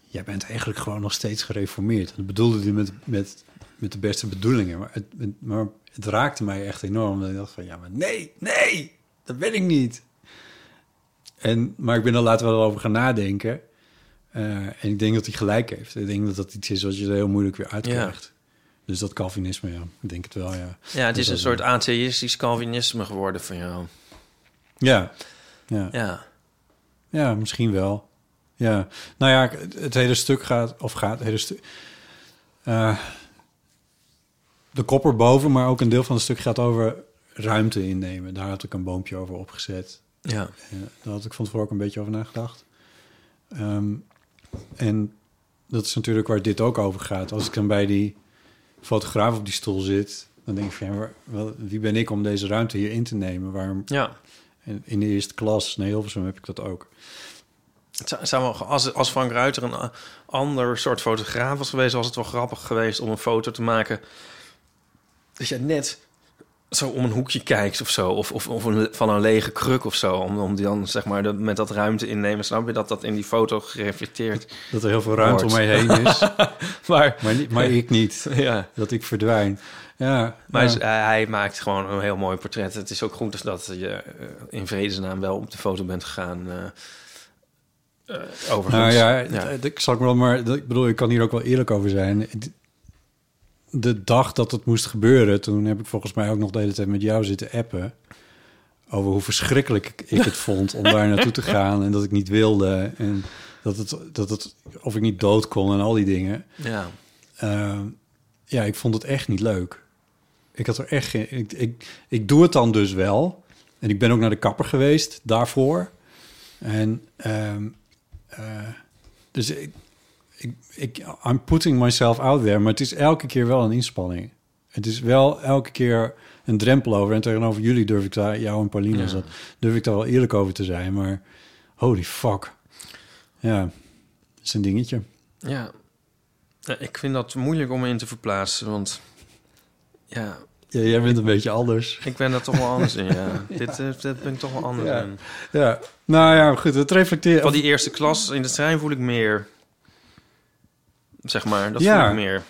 Speaker 2: jij bent eigenlijk gewoon nog steeds gereformeerd. En dat bedoelde hij met, met, met de beste bedoelingen, maar het, het- maar het raakte mij echt enorm. En ik dacht van ja, maar nee, nee, dat ben ik niet. En, maar ik ben er later wel over gaan nadenken. Eh, en ik denk dat hij gelijk heeft. Ik denk dat dat iets is wat je er heel moeilijk weer uitkrijgt. Dus dat Calvinisme, ja. Ik denk het wel, ja.
Speaker 3: ja, het is een soort atheïstisch Calvinisme geworden van jou.
Speaker 2: Ja, ja.
Speaker 3: Ja.
Speaker 2: ja misschien wel. Ja. Nou ja, het- het hele stuk gaat... Of gaat het hele stuk... eh, de kopper boven, maar ook een deel van het stuk gaat over ruimte innemen. Daar had ik een boompje over opgezet.
Speaker 3: Ja.
Speaker 2: Ja, daar had ik van tevoren ook een beetje over nagedacht. Ehm, en dat is natuurlijk waar dit ook over gaat. Als ik dan bij die fotograaf op die stoel zit, dan denk ik van ja, waar- wel, wie ben ik om deze ruimte hier in te nemen? Waarom?
Speaker 3: Ja.
Speaker 2: en In de eerste klas, nee, Hilversum heb ik dat ook.
Speaker 3: Het zou, zou wel- als, als Frank Ruiter een a- ander soort fotograaf was geweest, was het wel grappig geweest om een foto te maken. Dat je net zo om een hoekje kijkt of zo. Of, of, of een le- van een lege kruk of zo. Om, om die dan zeg maar dat- met dat ruimte innemen. Snap je dat dat in die foto gereflecteerd.
Speaker 2: Dat er heel veel ruimte om
Speaker 3: Hoort.
Speaker 2: mij heen is,
Speaker 3: Maar,
Speaker 2: maar, niet- maar ik niet.
Speaker 3: ja.
Speaker 2: Dat ik verdwijn. Ja,
Speaker 3: maar
Speaker 2: ja.
Speaker 3: hij- hij maakt gewoon een heel mooi portret. Het is ook goed dat je eh, in vredesnaam wel op de foto bent gegaan. eh eh,
Speaker 2: Nou
Speaker 3: overigens.
Speaker 2: ja, d- d- ik zal ik wel maar. d- Ik bedoel, ik kan hier ook wel eerlijk over zijn. D- De dag dat het moest gebeuren, toen heb ik volgens mij ook nog de hele tijd met jou zitten appen. Over hoe verschrikkelijk ik- ik het vond om daar naartoe te gaan. En dat ik niet wilde. En dat het, dat het, of ik niet dood kon en al die dingen.
Speaker 3: ja.
Speaker 2: Ehm, ja, ik vond het echt niet leuk. Ik had er echt geen. Ik, ik, ik doe het dan dus wel. En ik ben ook naar de kapper geweest daarvoor. En ehm, eh, dus ik, ik, ik, I'm putting myself out there, maar het is elke keer wel een inspanning. Het is wel elke keer een drempel over. En tegenover jullie durf ik daar, jou en Pauline, is dat, durf ik daar wel eerlijk over te zijn. Maar holy fuck. Ja, dat is een dingetje.
Speaker 3: Ja. Ja, Ik vind dat moeilijk om me in te verplaatsen, want ja,
Speaker 2: Ja, jij bent een beetje anders.
Speaker 3: ik ben daar toch wel anders in. Ja. Dit, eh, dit ben ik toch wel anders
Speaker 2: Ja.
Speaker 3: in.
Speaker 2: Ja, nou ja, goed, het reflecteert...
Speaker 3: Van die eerste klas in de trein voel ik meer, zeg maar, dat
Speaker 2: Ja.
Speaker 3: voel ik meer.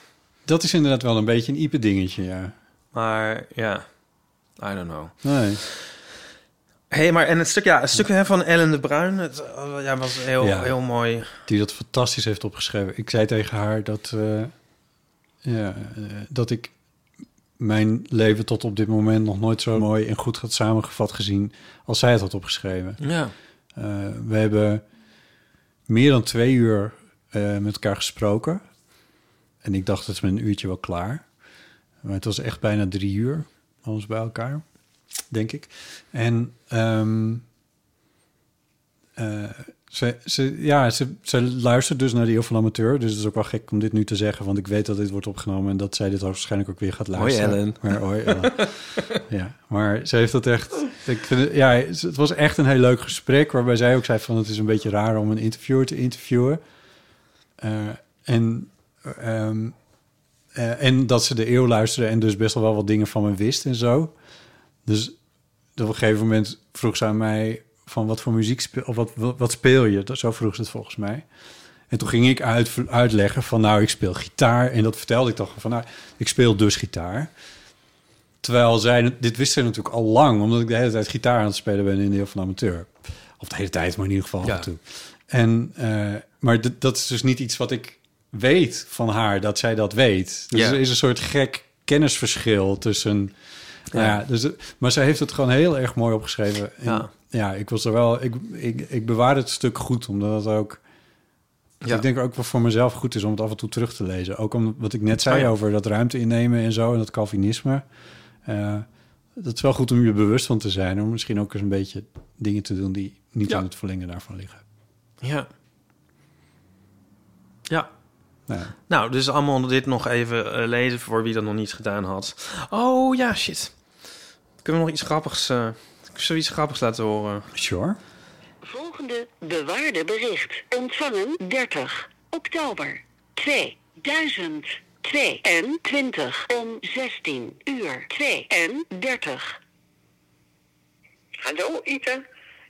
Speaker 2: Dat is inderdaad wel een beetje een Ipe-dingetje, ja.
Speaker 3: Maar ja, I don't know.
Speaker 2: Nee.
Speaker 3: Hé, hey, maar en het stuk, ja, het stuk hè, van Ellen de Bruin, het eh, ja, was heel,
Speaker 2: Ja.
Speaker 3: heel mooi.
Speaker 2: Die dat fantastisch heeft opgeschreven. Ik zei tegen haar dat, eh, ja, eh, dat ik mijn leven tot op dit moment nog nooit zo mooi en goed had samengevat gezien als zij het had opgeschreven.
Speaker 3: Ja,
Speaker 2: Eh, we hebben meer dan twee uur eh, met elkaar gesproken. En ik dacht, het is met een uurtje wel klaar. Maar het was echt bijna drie uur, alles bij elkaar, denk ik. En ehm, eh, Ze, ze, ja, ze, ze luistert dus naar de Eeuw van de Amateur. Dus het is ook wel gek om dit nu te zeggen. Want ik weet dat dit wordt opgenomen. En dat zij dit waarschijnlijk ook weer gaat luisteren.
Speaker 3: Ellen.
Speaker 2: Maar, hoi Ellen. ja, maar ze heeft dat echt... Ik vind het, ja, het was echt een heel leuk gesprek. Waarbij zij ook zei van... Het is een beetje raar om een interviewer te interviewen. Eh, en... ehm, eh, en dat ze de eeuw luisterde en dus best wel wat dingen van me wist en zo. Dus op een gegeven moment vroeg ze aan mij van wat voor muziek speel, of wat, wat, wat speel je? Dat, zo vroeg ze het volgens mij. En toen ging ik uit, uitleggen van nou, ik speel gitaar. En dat vertelde ik toch van nou, ik speel dus gitaar. Terwijl zij, dit wist ze natuurlijk al lang, omdat ik de hele tijd gitaar aan het spelen ben in de heel van de amateur. Of de hele tijd, maar in ieder geval af en toe. En, eh, maar d- dat is dus niet iets wat ik weet van haar, dat zij dat weet. Dus
Speaker 3: Ja.
Speaker 2: er is een soort gek kennisverschil tussen... Ja. ja, dus, maar zij heeft het gewoon heel erg mooi opgeschreven. En
Speaker 3: Ja.
Speaker 2: ja, ik was er wel. Ik, ik, ik bewaar het stuk goed, omdat het ook.
Speaker 3: Ja.
Speaker 2: Ik denk ook wel voor mezelf goed is om het af en toe terug te lezen. Ook om wat ik net zei
Speaker 3: Ah, ja.
Speaker 2: over dat ruimte innemen en zo en dat Calvinisme. Eh, dat is wel goed om je bewust van te zijn. Om misschien ook eens een beetje dingen te doen die niet
Speaker 3: Ja.
Speaker 2: aan het verlengen daarvan liggen.
Speaker 3: Ja. Ja.
Speaker 2: Nou,
Speaker 3: Nou, dus allemaal dit nog even eh, lezen voor wie dat nog niet gedaan had. Oh ja, shit. Kunnen we nog iets grappigs... eh zoiets grappigs laten horen?
Speaker 2: sure.
Speaker 4: Volgende bewaarde bericht. Ontvangen 30 oktober 2022 om 16 uur 32.
Speaker 5: Hallo Ita,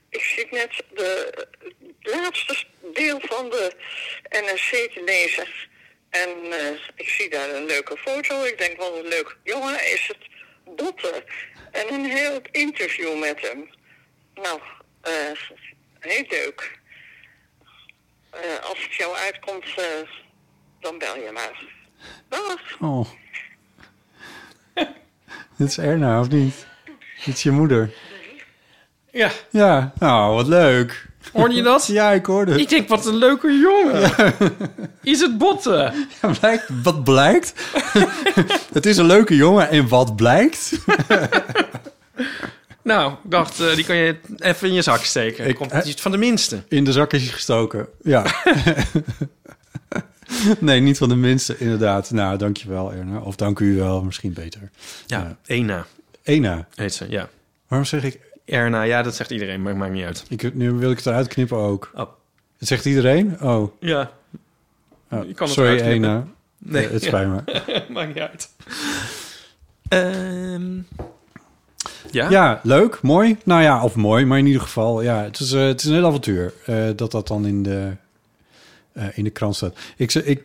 Speaker 5: ik zit net de het laatste deel van de NRC te lezen. En eh, ik zie daar een leuke foto. Ik denk, wat een leuk jongen is het. Botte. En een heel interview met hem. Nou, eh, heel leuk. Eh, als het jou uitkomt, eh, dan bel je maar. Dag.
Speaker 2: Oh. dit is Erna, of niet? Dit is je moeder.
Speaker 3: Ja.
Speaker 2: Ja, nou, wat leuk.
Speaker 3: Hoorde je dat?
Speaker 2: Ja, ik hoorde het.
Speaker 3: Ik denk, wat een leuke jongen. Is het botten?
Speaker 2: Ja, blijkt, wat blijkt? het is een leuke jongen en wat blijkt?
Speaker 3: Nou, ik dacht, eh, die kan je even in je zak steken.
Speaker 2: Ik-
Speaker 3: Ik, Komt, het is van de minste.
Speaker 2: In de zak is hij gestoken, ja. nee, niet van de minste, inderdaad. Nou, dankjewel Erna. Of dank u wel, misschien beter.
Speaker 3: Ja, Ena
Speaker 2: Ena,
Speaker 3: heet ze, ja.
Speaker 2: waarom zeg ik...
Speaker 3: Erna, ja, dat zegt iedereen, maar het maakt niet uit.
Speaker 2: ik nu wil ik het eruit knippen ook.
Speaker 3: Oh,
Speaker 2: Het zegt iedereen? Oh,
Speaker 3: ja.
Speaker 2: oh,
Speaker 3: Je kan het
Speaker 2: sorry
Speaker 3: eruit knippen.
Speaker 2: Ena.
Speaker 3: Nee,
Speaker 2: Eh, het spijt me.
Speaker 3: maakt niet uit. Ehm, ja?
Speaker 2: Ja, leuk, mooi. Nou ja, of mooi, maar in ieder geval... Ja, het is, eh, het is een heel avontuur eh, dat dat dan in de, eh, in de krant staat. Ik, ze- ik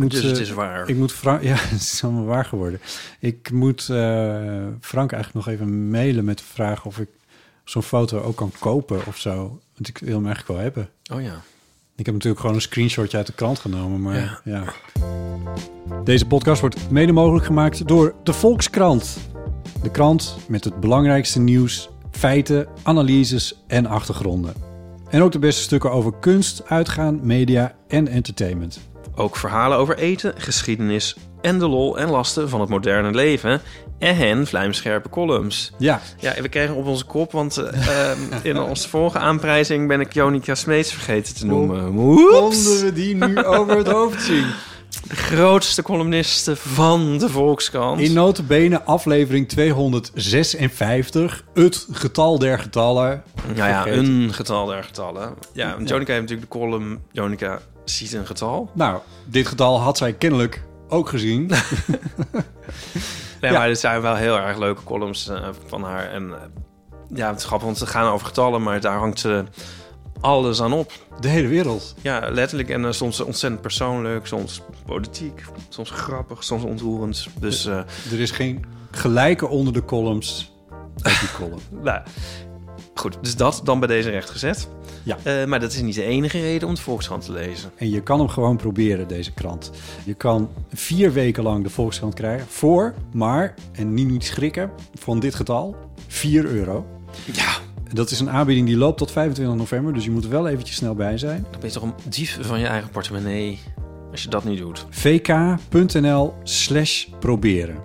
Speaker 2: moet...
Speaker 3: dus het
Speaker 2: eh,
Speaker 3: is waar.
Speaker 2: Ik moet Frank, ja, het is allemaal waar geworden. Ik moet eh, Frank eigenlijk nog even mailen met de vraag of ik zo'n foto ook kan kopen of zo. Want ik wil hem eigenlijk wel hebben.
Speaker 3: oh ja.
Speaker 2: Ik heb natuurlijk gewoon een screenshotje uit de krant genomen, maar ja.
Speaker 3: Ja.
Speaker 2: Deze podcast wordt mede mogelijk gemaakt door de Volkskrant. De krant met het belangrijkste nieuws, feiten, analyses en achtergronden. En ook de beste stukken over kunst, uitgaan, media en entertainment.
Speaker 3: Ook verhalen over eten, geschiedenis en de lol en lasten van het moderne leven. En hen vlijmscherpe columns.
Speaker 2: Ja,
Speaker 3: Ja, we kregen op onze kop, want eh, ehm, in onze vorige aanprijzing ben ik Jonica Smeets vergeten te noemen. Oeps!
Speaker 2: we die nu over het hoofd zien?
Speaker 3: Grootste columniste van de Volkskrant.
Speaker 2: In notabene aflevering 256, het getal der getallen.
Speaker 3: nou ja,
Speaker 2: Vergeet.
Speaker 3: een getal der getallen. Ja, want Jonica heeft natuurlijk de column Jonica ziet een getal.
Speaker 2: Nou, dit getal had zij kennelijk ook gezien.
Speaker 3: Nee,
Speaker 2: Ja.
Speaker 3: maar er zijn wel heel erg leuke columns eh, van haar. En eh, ja, het is grappig, want ze gaan over getallen, maar daar hangt ze alles aan op.
Speaker 2: De hele wereld.
Speaker 3: Ja, letterlijk. En eh, soms ontzettend persoonlijk, soms politiek, soms grappig, soms ontroerend. Dus eh,
Speaker 2: Er is geen gelijke onder de columns. als Die column.
Speaker 3: Nou, goed. Dus dat dan bij deze recht gezet.
Speaker 2: Ja.
Speaker 3: Eh, maar dat is niet de enige reden om de Volkskrant te lezen.
Speaker 2: En je kan hem gewoon proberen, deze krant. Je kan vier weken lang de Volkskrant krijgen voor, maar, en niet niet schrikken, van dit getal, 4 euro.
Speaker 3: Ja.
Speaker 2: Dat is een aanbieding die loopt tot 25 november, dus je moet er wel eventjes snel bij zijn.
Speaker 3: Dan ben je toch een dief van je eigen portemonnee als je dat niet doet.
Speaker 2: vk.nl slash proberen.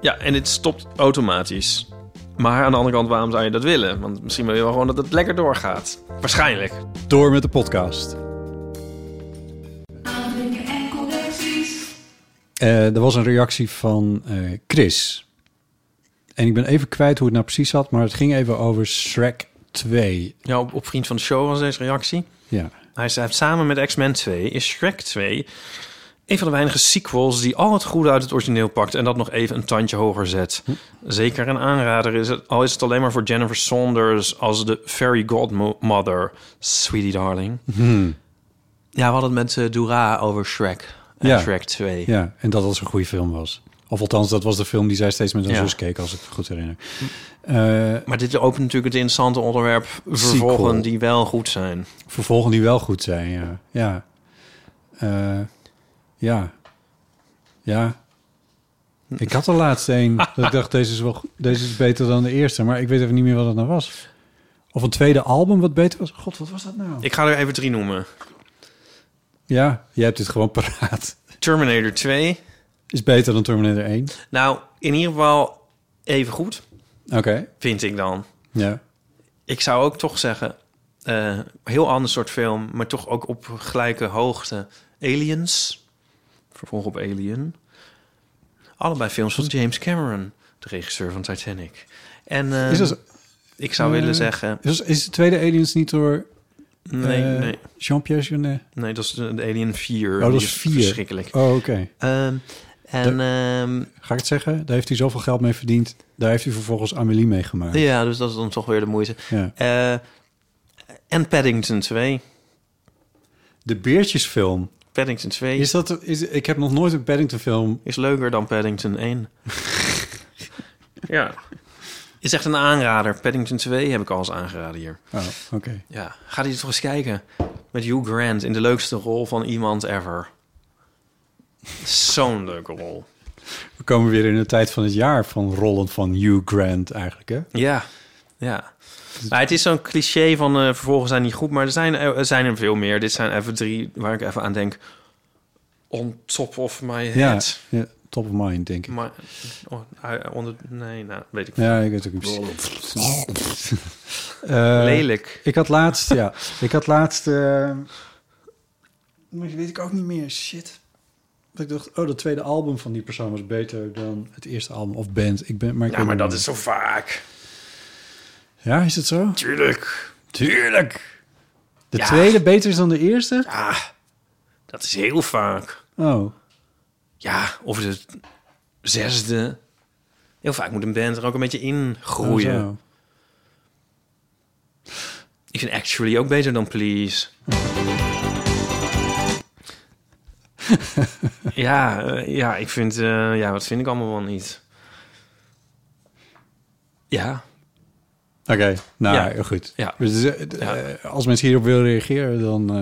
Speaker 3: Ja, en dit stopt automatisch. Maar aan de andere kant, waarom zou je dat willen? Want misschien wil je wel gewoon dat het lekker doorgaat. Waarschijnlijk.
Speaker 2: Door met de podcast. Eh, er was een reactie van eh, Chris. En ik ben even kwijt hoe het nou precies zat, maar het ging even over Shrek 2.
Speaker 3: Ja, op, op Vriend van de Show was deze reactie.
Speaker 2: Ja.
Speaker 3: Hij schrijft samen met X-Men 2 is Shrek 2 een van de weinige sequels die al het goede uit het origineel pakt en dat nog even een tandje hoger zet.
Speaker 2: Hm.
Speaker 3: Zeker een aanrader is het, al is het alleen maar voor Jennifer Saunders als de fairy godmother, sweetie darling.
Speaker 2: Hm.
Speaker 3: Ja, we hadden het met eh, Dura over Shrek en
Speaker 2: Ja.
Speaker 3: Shrek 2.
Speaker 2: ja, en dat als een goede film was. Of althans, dat was de film die zij steeds met haar
Speaker 3: Ja.
Speaker 2: zus keek, als ik me goed herinner. Eh,
Speaker 3: Maar dit opent natuurlijk het interessante onderwerp vervolgen
Speaker 2: Sequel.
Speaker 3: die wel goed zijn.
Speaker 2: vervolgen die wel goed zijn, ja. Ja. Eh, ja. Ja. Ik had de laatste een dat ik dacht, deze is, wel, go- deze is beter dan de eerste. Maar ik weet even niet meer wat het nou was. Of een tweede album wat beter was. God, wat was dat nou?
Speaker 3: Ik ga er even drie noemen.
Speaker 2: Ja, jij hebt dit gewoon paraat.
Speaker 3: Terminator 2.
Speaker 2: Is beter dan Terminator 1.
Speaker 3: Nou, in ieder geval even goed,
Speaker 2: Oké,
Speaker 3: vind ik dan.
Speaker 2: ja.
Speaker 3: ik zou ook toch zeggen, eh, heel ander soort film, maar toch ook op gelijke hoogte. Aliens, vervolg op Alien. Allebei films van James Cameron, de regisseur van Titanic. En eh,
Speaker 2: Is, dat,
Speaker 3: ik zou
Speaker 2: eh,
Speaker 3: willen zeggen,
Speaker 2: is, is de tweede Aliens niet door
Speaker 3: nee,
Speaker 2: eh,
Speaker 3: nee,
Speaker 2: Jean-Pierre Jeunet?
Speaker 3: nee, dat is de de Alien 4.
Speaker 2: Oh, dat
Speaker 3: Die
Speaker 2: is 4.
Speaker 3: Verschrikkelijk.
Speaker 2: Oh, oké.
Speaker 3: Ehm, en ehm,
Speaker 2: Ga ik het zeggen? Daar heeft hij zoveel geld mee verdiend. Daar heeft hij vervolgens Amélie mee gemaakt.
Speaker 3: ja, dus dat is dan toch weer de moeite.
Speaker 2: Ja.
Speaker 3: Eh, en Paddington 2.
Speaker 2: De Beertjesfilm.
Speaker 3: Paddington 2
Speaker 2: Is
Speaker 3: is,
Speaker 2: dat, is, ik heb nog nooit een Paddington film.
Speaker 3: leuker dan Paddington 1. ja. Is echt een aanrader. Paddington 2 heb ik al eens aangeraden hier.
Speaker 2: Oh, oké.
Speaker 3: Ja, ga die toch eens kijken. Met Hugh Grant in de leukste rol van iemand ever. Zo'n leuke rol.
Speaker 2: We komen weer in de tijd van het jaar van rollen van Hugh Grant eigenlijk, hè?
Speaker 3: Ja, ja. Maar het is zo'n cliché van eh, vervolgens zijn niet goed, maar er zijn, eh, er zijn er veel meer. Dit zijn even drie waar ik even aan denk. On top of my
Speaker 2: Ja,
Speaker 3: head.
Speaker 2: ja, top of mind, denk ik.
Speaker 3: Maar, oh, onder, nee, nou, weet ik
Speaker 2: Ja, ik weet het ook niet precies. Eh,
Speaker 3: Lelijk.
Speaker 2: Ik had laatst, ja. Ik had laatst... eh, maar weet ik ook niet meer. Shit. Dat ik dacht, oh, dat tweede album van die persoon was beter dan het eerste album of band. Ik ben, maar ik
Speaker 3: Ja,
Speaker 2: weet
Speaker 3: maar
Speaker 2: niet
Speaker 3: dat is
Speaker 2: meer.
Speaker 3: zo vaak.
Speaker 2: Ja, is het zo?
Speaker 3: Tuurlijk.
Speaker 2: Tuurlijk. De
Speaker 3: Ja.
Speaker 2: tweede beter is dan de eerste?
Speaker 3: Ja, Ah, dat is heel vaak.
Speaker 2: Oh,
Speaker 3: Ja, of de zesde. Heel vaak moet een band er ook een beetje in groeien.
Speaker 2: zo.
Speaker 3: Ik vind Actually ook beter dan Please. ja, eh, ja, ik vind... eh, ja, wat vind ik allemaal wel niet? Ja,
Speaker 2: Oké, nou
Speaker 3: Ja.
Speaker 2: heel goed.
Speaker 3: Ja.
Speaker 2: Dus, eh, d-
Speaker 3: Ja.
Speaker 2: eh, Als mensen hierop willen reageren, dan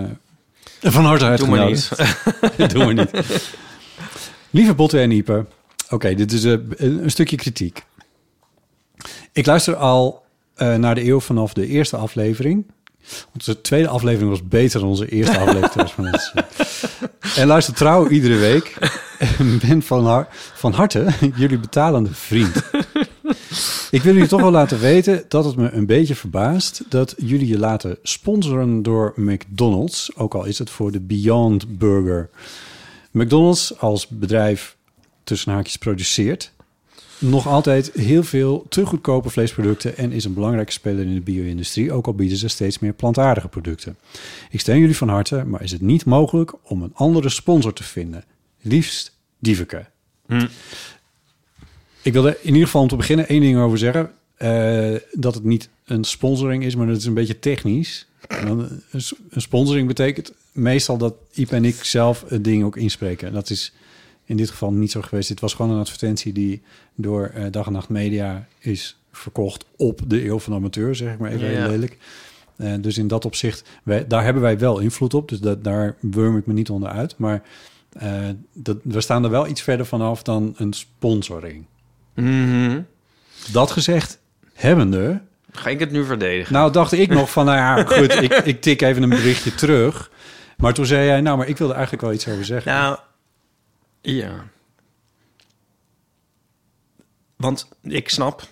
Speaker 2: eh, van harte
Speaker 3: doe maar
Speaker 2: uitgenodigd.
Speaker 3: niet.
Speaker 2: Doe maar niet. Lieve Botte en Ipe. Oké, dit is eh, een, een stukje kritiek. Ik luister al eh, naar de eeuw vanaf de eerste aflevering. Onze tweede aflevering was beter dan onze eerste aflevering. trouwens, maar dat is- en luister trouw iedere week. En ben van, har- van harte jullie betalende vriend. Ik wil jullie toch wel laten weten dat het me een beetje verbaast dat jullie je laten sponsoren door McDonald's, ook al is het voor de Beyond Burger. McDonald's als bedrijf tussen haakjes produceert nog altijd heel veel te goedkope vleesproducten en is een belangrijke speler in de bio-industrie, ook al bieden ze steeds meer plantaardige producten. Ik steun jullie van harte, maar is het niet mogelijk om een andere sponsor te vinden? Liefst Dieveke. Ik wilde in ieder geval om te beginnen één ding over zeggen. Eh, dat het niet een sponsoring is, maar dat is een beetje technisch. Want een s- een sponsoring betekent meestal dat Iep en ik zelf het ding ook inspreken. Dat is in dit geval niet zo geweest. Dit was gewoon een advertentie die door eh, Dag en Nacht Media is verkocht op de eeuw van de amateur, zeg ik maar even
Speaker 3: Ja.
Speaker 2: heel lelijk. Eh, dus in dat opzicht, wij, daar hebben wij wel invloed op. Dus dat, daar wurm ik me niet onder uit. Maar eh, dat, we staan er wel iets verder vanaf dan een sponsoring.
Speaker 3: Mhm.
Speaker 2: Dat gezegd hebbende,
Speaker 3: Ga ik het nu verdedigen?
Speaker 2: nou dacht ik nog van, nou ja, goed, ik, ik tik even een berichtje terug. Maar toen zei jij, nou, maar ik wilde eigenlijk wel iets over zeggen.
Speaker 3: Nou, ja. Want ik snap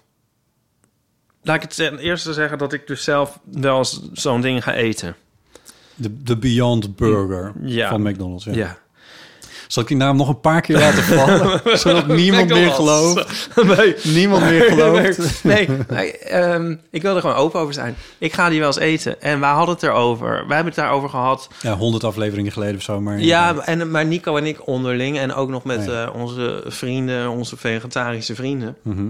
Speaker 3: laat ik het ten eerste zeggen dat ik dus zelf wel eens zo'n ding ga eten.
Speaker 2: De, de Beyond Burger
Speaker 3: Ja.
Speaker 2: van McDonald's. Ja.
Speaker 3: Ja.
Speaker 2: Zal ik die naam nog een paar keer laten vallen? zodat niemand meer gelooft.
Speaker 3: Nee.
Speaker 2: Niemand meer gelooft.
Speaker 3: Nee, nee, ehm, ik wil er gewoon open over zijn. Ik ga die wel eens eten. En wij hadden het erover. Wij hebben het daarover gehad.
Speaker 2: Ja, honderd afleveringen geleden of zo. Maar
Speaker 3: Ja, en, maar Nico en ik onderling. En ook nog met
Speaker 2: Ja.
Speaker 3: eh, onze vrienden, onze vegetarische vrienden.
Speaker 2: Mhm.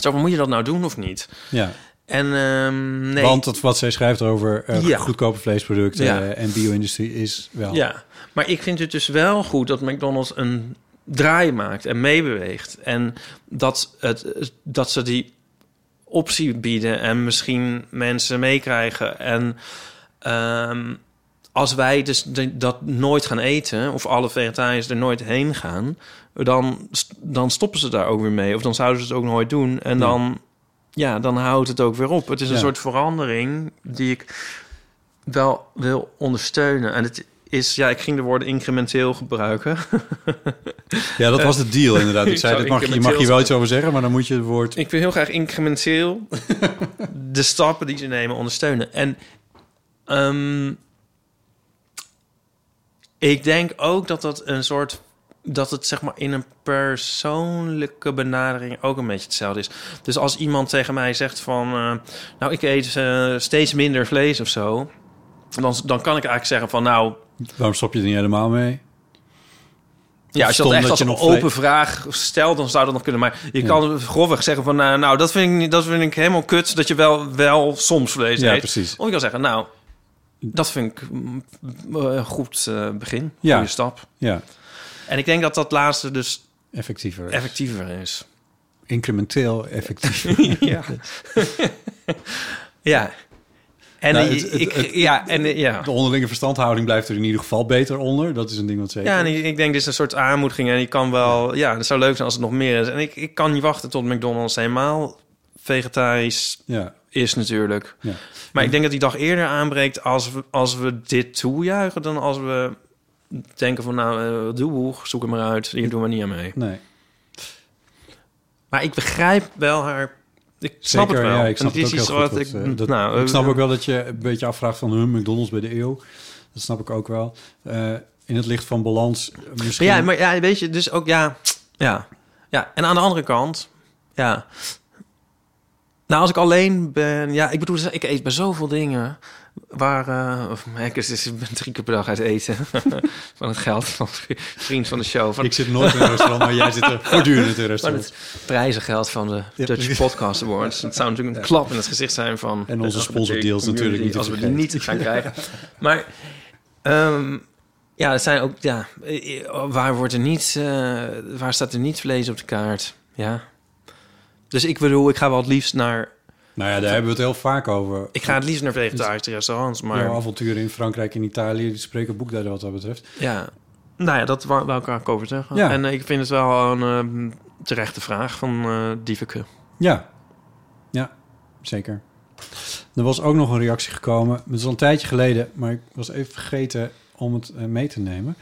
Speaker 3: Zo van, moet je dat nou doen of niet?
Speaker 2: ja.
Speaker 3: En ehm, nee.
Speaker 2: Want het, wat zij schrijft over eh,
Speaker 3: Ja.
Speaker 2: goedkope vleesproducten
Speaker 3: Ja.
Speaker 2: eh, en bio-industrie is wel...
Speaker 3: Ja, maar ik vind het dus wel goed dat McDonald's een draai maakt en meebeweegt. En dat, het, dat ze die optie bieden en misschien mensen meekrijgen. En ehm, als wij dus de- dat nooit gaan eten, of alle vegetariërs er nooit heen gaan, dan, st- dan stoppen ze daar ook weer mee. Of dan zouden ze het ook nooit doen. En dan, ja, dan houdt het ook weer op. Het is een
Speaker 2: Ja.
Speaker 3: soort verandering die ik wel wil ondersteunen. En het is, ja, ik ging de woorden incrementeel gebruiken.
Speaker 2: Ja, dat was de deal inderdaad. Ik
Speaker 3: Ik
Speaker 2: zei,
Speaker 3: zou
Speaker 2: dit mag, je- je mag hier wel iets over zeggen, maar dan moet je het woord...
Speaker 3: Ik wil heel graag incrementeel de stappen die ze nemen ondersteunen. En ehm, ik denk ook dat dat een soort dat het zeg maar in een persoonlijke benadering ook een beetje hetzelfde is. Dus als iemand tegen mij zegt van, eh, nou ik eet eh, steeds minder vlees of zo, dan, dan kan ik eigenlijk zeggen van, nou
Speaker 2: Waarom stop je er niet helemaal mee?
Speaker 3: ja, als je
Speaker 2: Stom
Speaker 3: dat echt
Speaker 2: dat
Speaker 3: als
Speaker 2: je
Speaker 3: een
Speaker 2: nog vle-
Speaker 3: open vraag stelt, dan zou dat nog kunnen. Maar je kan grofweg zeggen van... nou, nou, dat vind, ik, niet- dat vind ik helemaal kut, dat je wel, wel soms vlees
Speaker 2: Ja,
Speaker 3: eet.
Speaker 2: precies.
Speaker 3: Of je kan zeggen, nou, dat vind ik mm, een goed eh, begin,
Speaker 2: Ja.
Speaker 3: goede stap.
Speaker 2: Ja,
Speaker 3: En ik denk dat dat laatste dus
Speaker 2: effectiever.
Speaker 3: effectiever is.
Speaker 2: Incrementeel effectief.
Speaker 3: ja. ja. En,
Speaker 2: Nou,
Speaker 3: eh,
Speaker 2: het- het-
Speaker 3: ik,
Speaker 2: het-
Speaker 3: ja, en eh, ja.
Speaker 2: De onderlinge verstandhouding blijft er in ieder geval beter onder. Dat is een ding wat zeker.
Speaker 3: Ja, en ik, ik denk dit is een soort aanmoediging. En je kan wel, ja, het zou leuk zijn als het nog meer is. En ik, ik kan niet wachten tot McDonald's helemaal vegetarisch
Speaker 2: ja.
Speaker 3: is natuurlijk.
Speaker 2: Ja.
Speaker 3: Maar ik denk dat die dag eerder aanbreekt als we, als we dit toejuichen... dan als we denken van, nou, eh doe zoek hem maar uit. Hier doen we niet aan mee.
Speaker 2: Nee.
Speaker 3: Maar ik begrijp wel haar... Ik snap
Speaker 2: Zeker,
Speaker 3: het wel.
Speaker 2: Ja, ik snap
Speaker 3: En
Speaker 2: het ook
Speaker 3: is
Speaker 2: heel
Speaker 3: iets
Speaker 2: goed.
Speaker 3: wat
Speaker 2: wat, eh, dat-
Speaker 3: nou, eh,
Speaker 2: ik snap ook wel dat je een beetje afvraagt van hun McDonald's bij de eeuw. Dat snap ik ook wel. Eh, in het licht van balans eh, misschien.
Speaker 3: Ja, maar ja, weet je, dus ook ja, ja, ja. En aan de andere kant, ja. Nou, als ik alleen ben, ja, ik bedoel, ik eet bij zoveel dingen waar, eh, of ik is, is- ik ben drie keer per dag uit eten van het geld van vri- vriend van de show, van,
Speaker 2: Ik zit nooit in een restaurant, maar jij zit er voortdurend in een
Speaker 3: van
Speaker 2: restaurant.
Speaker 3: het prijzengeld van de Dutch
Speaker 2: precies.
Speaker 3: Podcast Awards. Dat zou natuurlijk een klap in het gezicht zijn van
Speaker 2: En onze
Speaker 3: de
Speaker 2: sponsordeals
Speaker 3: community,
Speaker 2: natuurlijk niet te
Speaker 3: als we die
Speaker 2: vergeten.
Speaker 3: niet gaan krijgen. Maar ehm, ja, dat zijn ook ja, eh, waar wordt er niet, eh, waar staat er niet vlees op de kaart? Ja. Dus ik bedoel, ik ga wel het liefst naar,
Speaker 2: Nou ja, daar hebben we het heel vaak over.
Speaker 3: ik ga het liefst naar vegetarische restaurants, maar
Speaker 2: Jouw
Speaker 3: ja,
Speaker 2: avonturen in Frankrijk en Italië, die spreken boekdelen wat dat betreft.
Speaker 3: nou ja, dat wou, wou ik eigenlijk over zeggen.
Speaker 2: Ja.
Speaker 3: En eh, ik vind het wel een ehm, terechte vraag van eh Dieveke.
Speaker 2: Ja, ja, zeker. Er was ook nog een reactie gekomen. Het is al een tijdje geleden, maar ik was even vergeten om het eh, mee te nemen.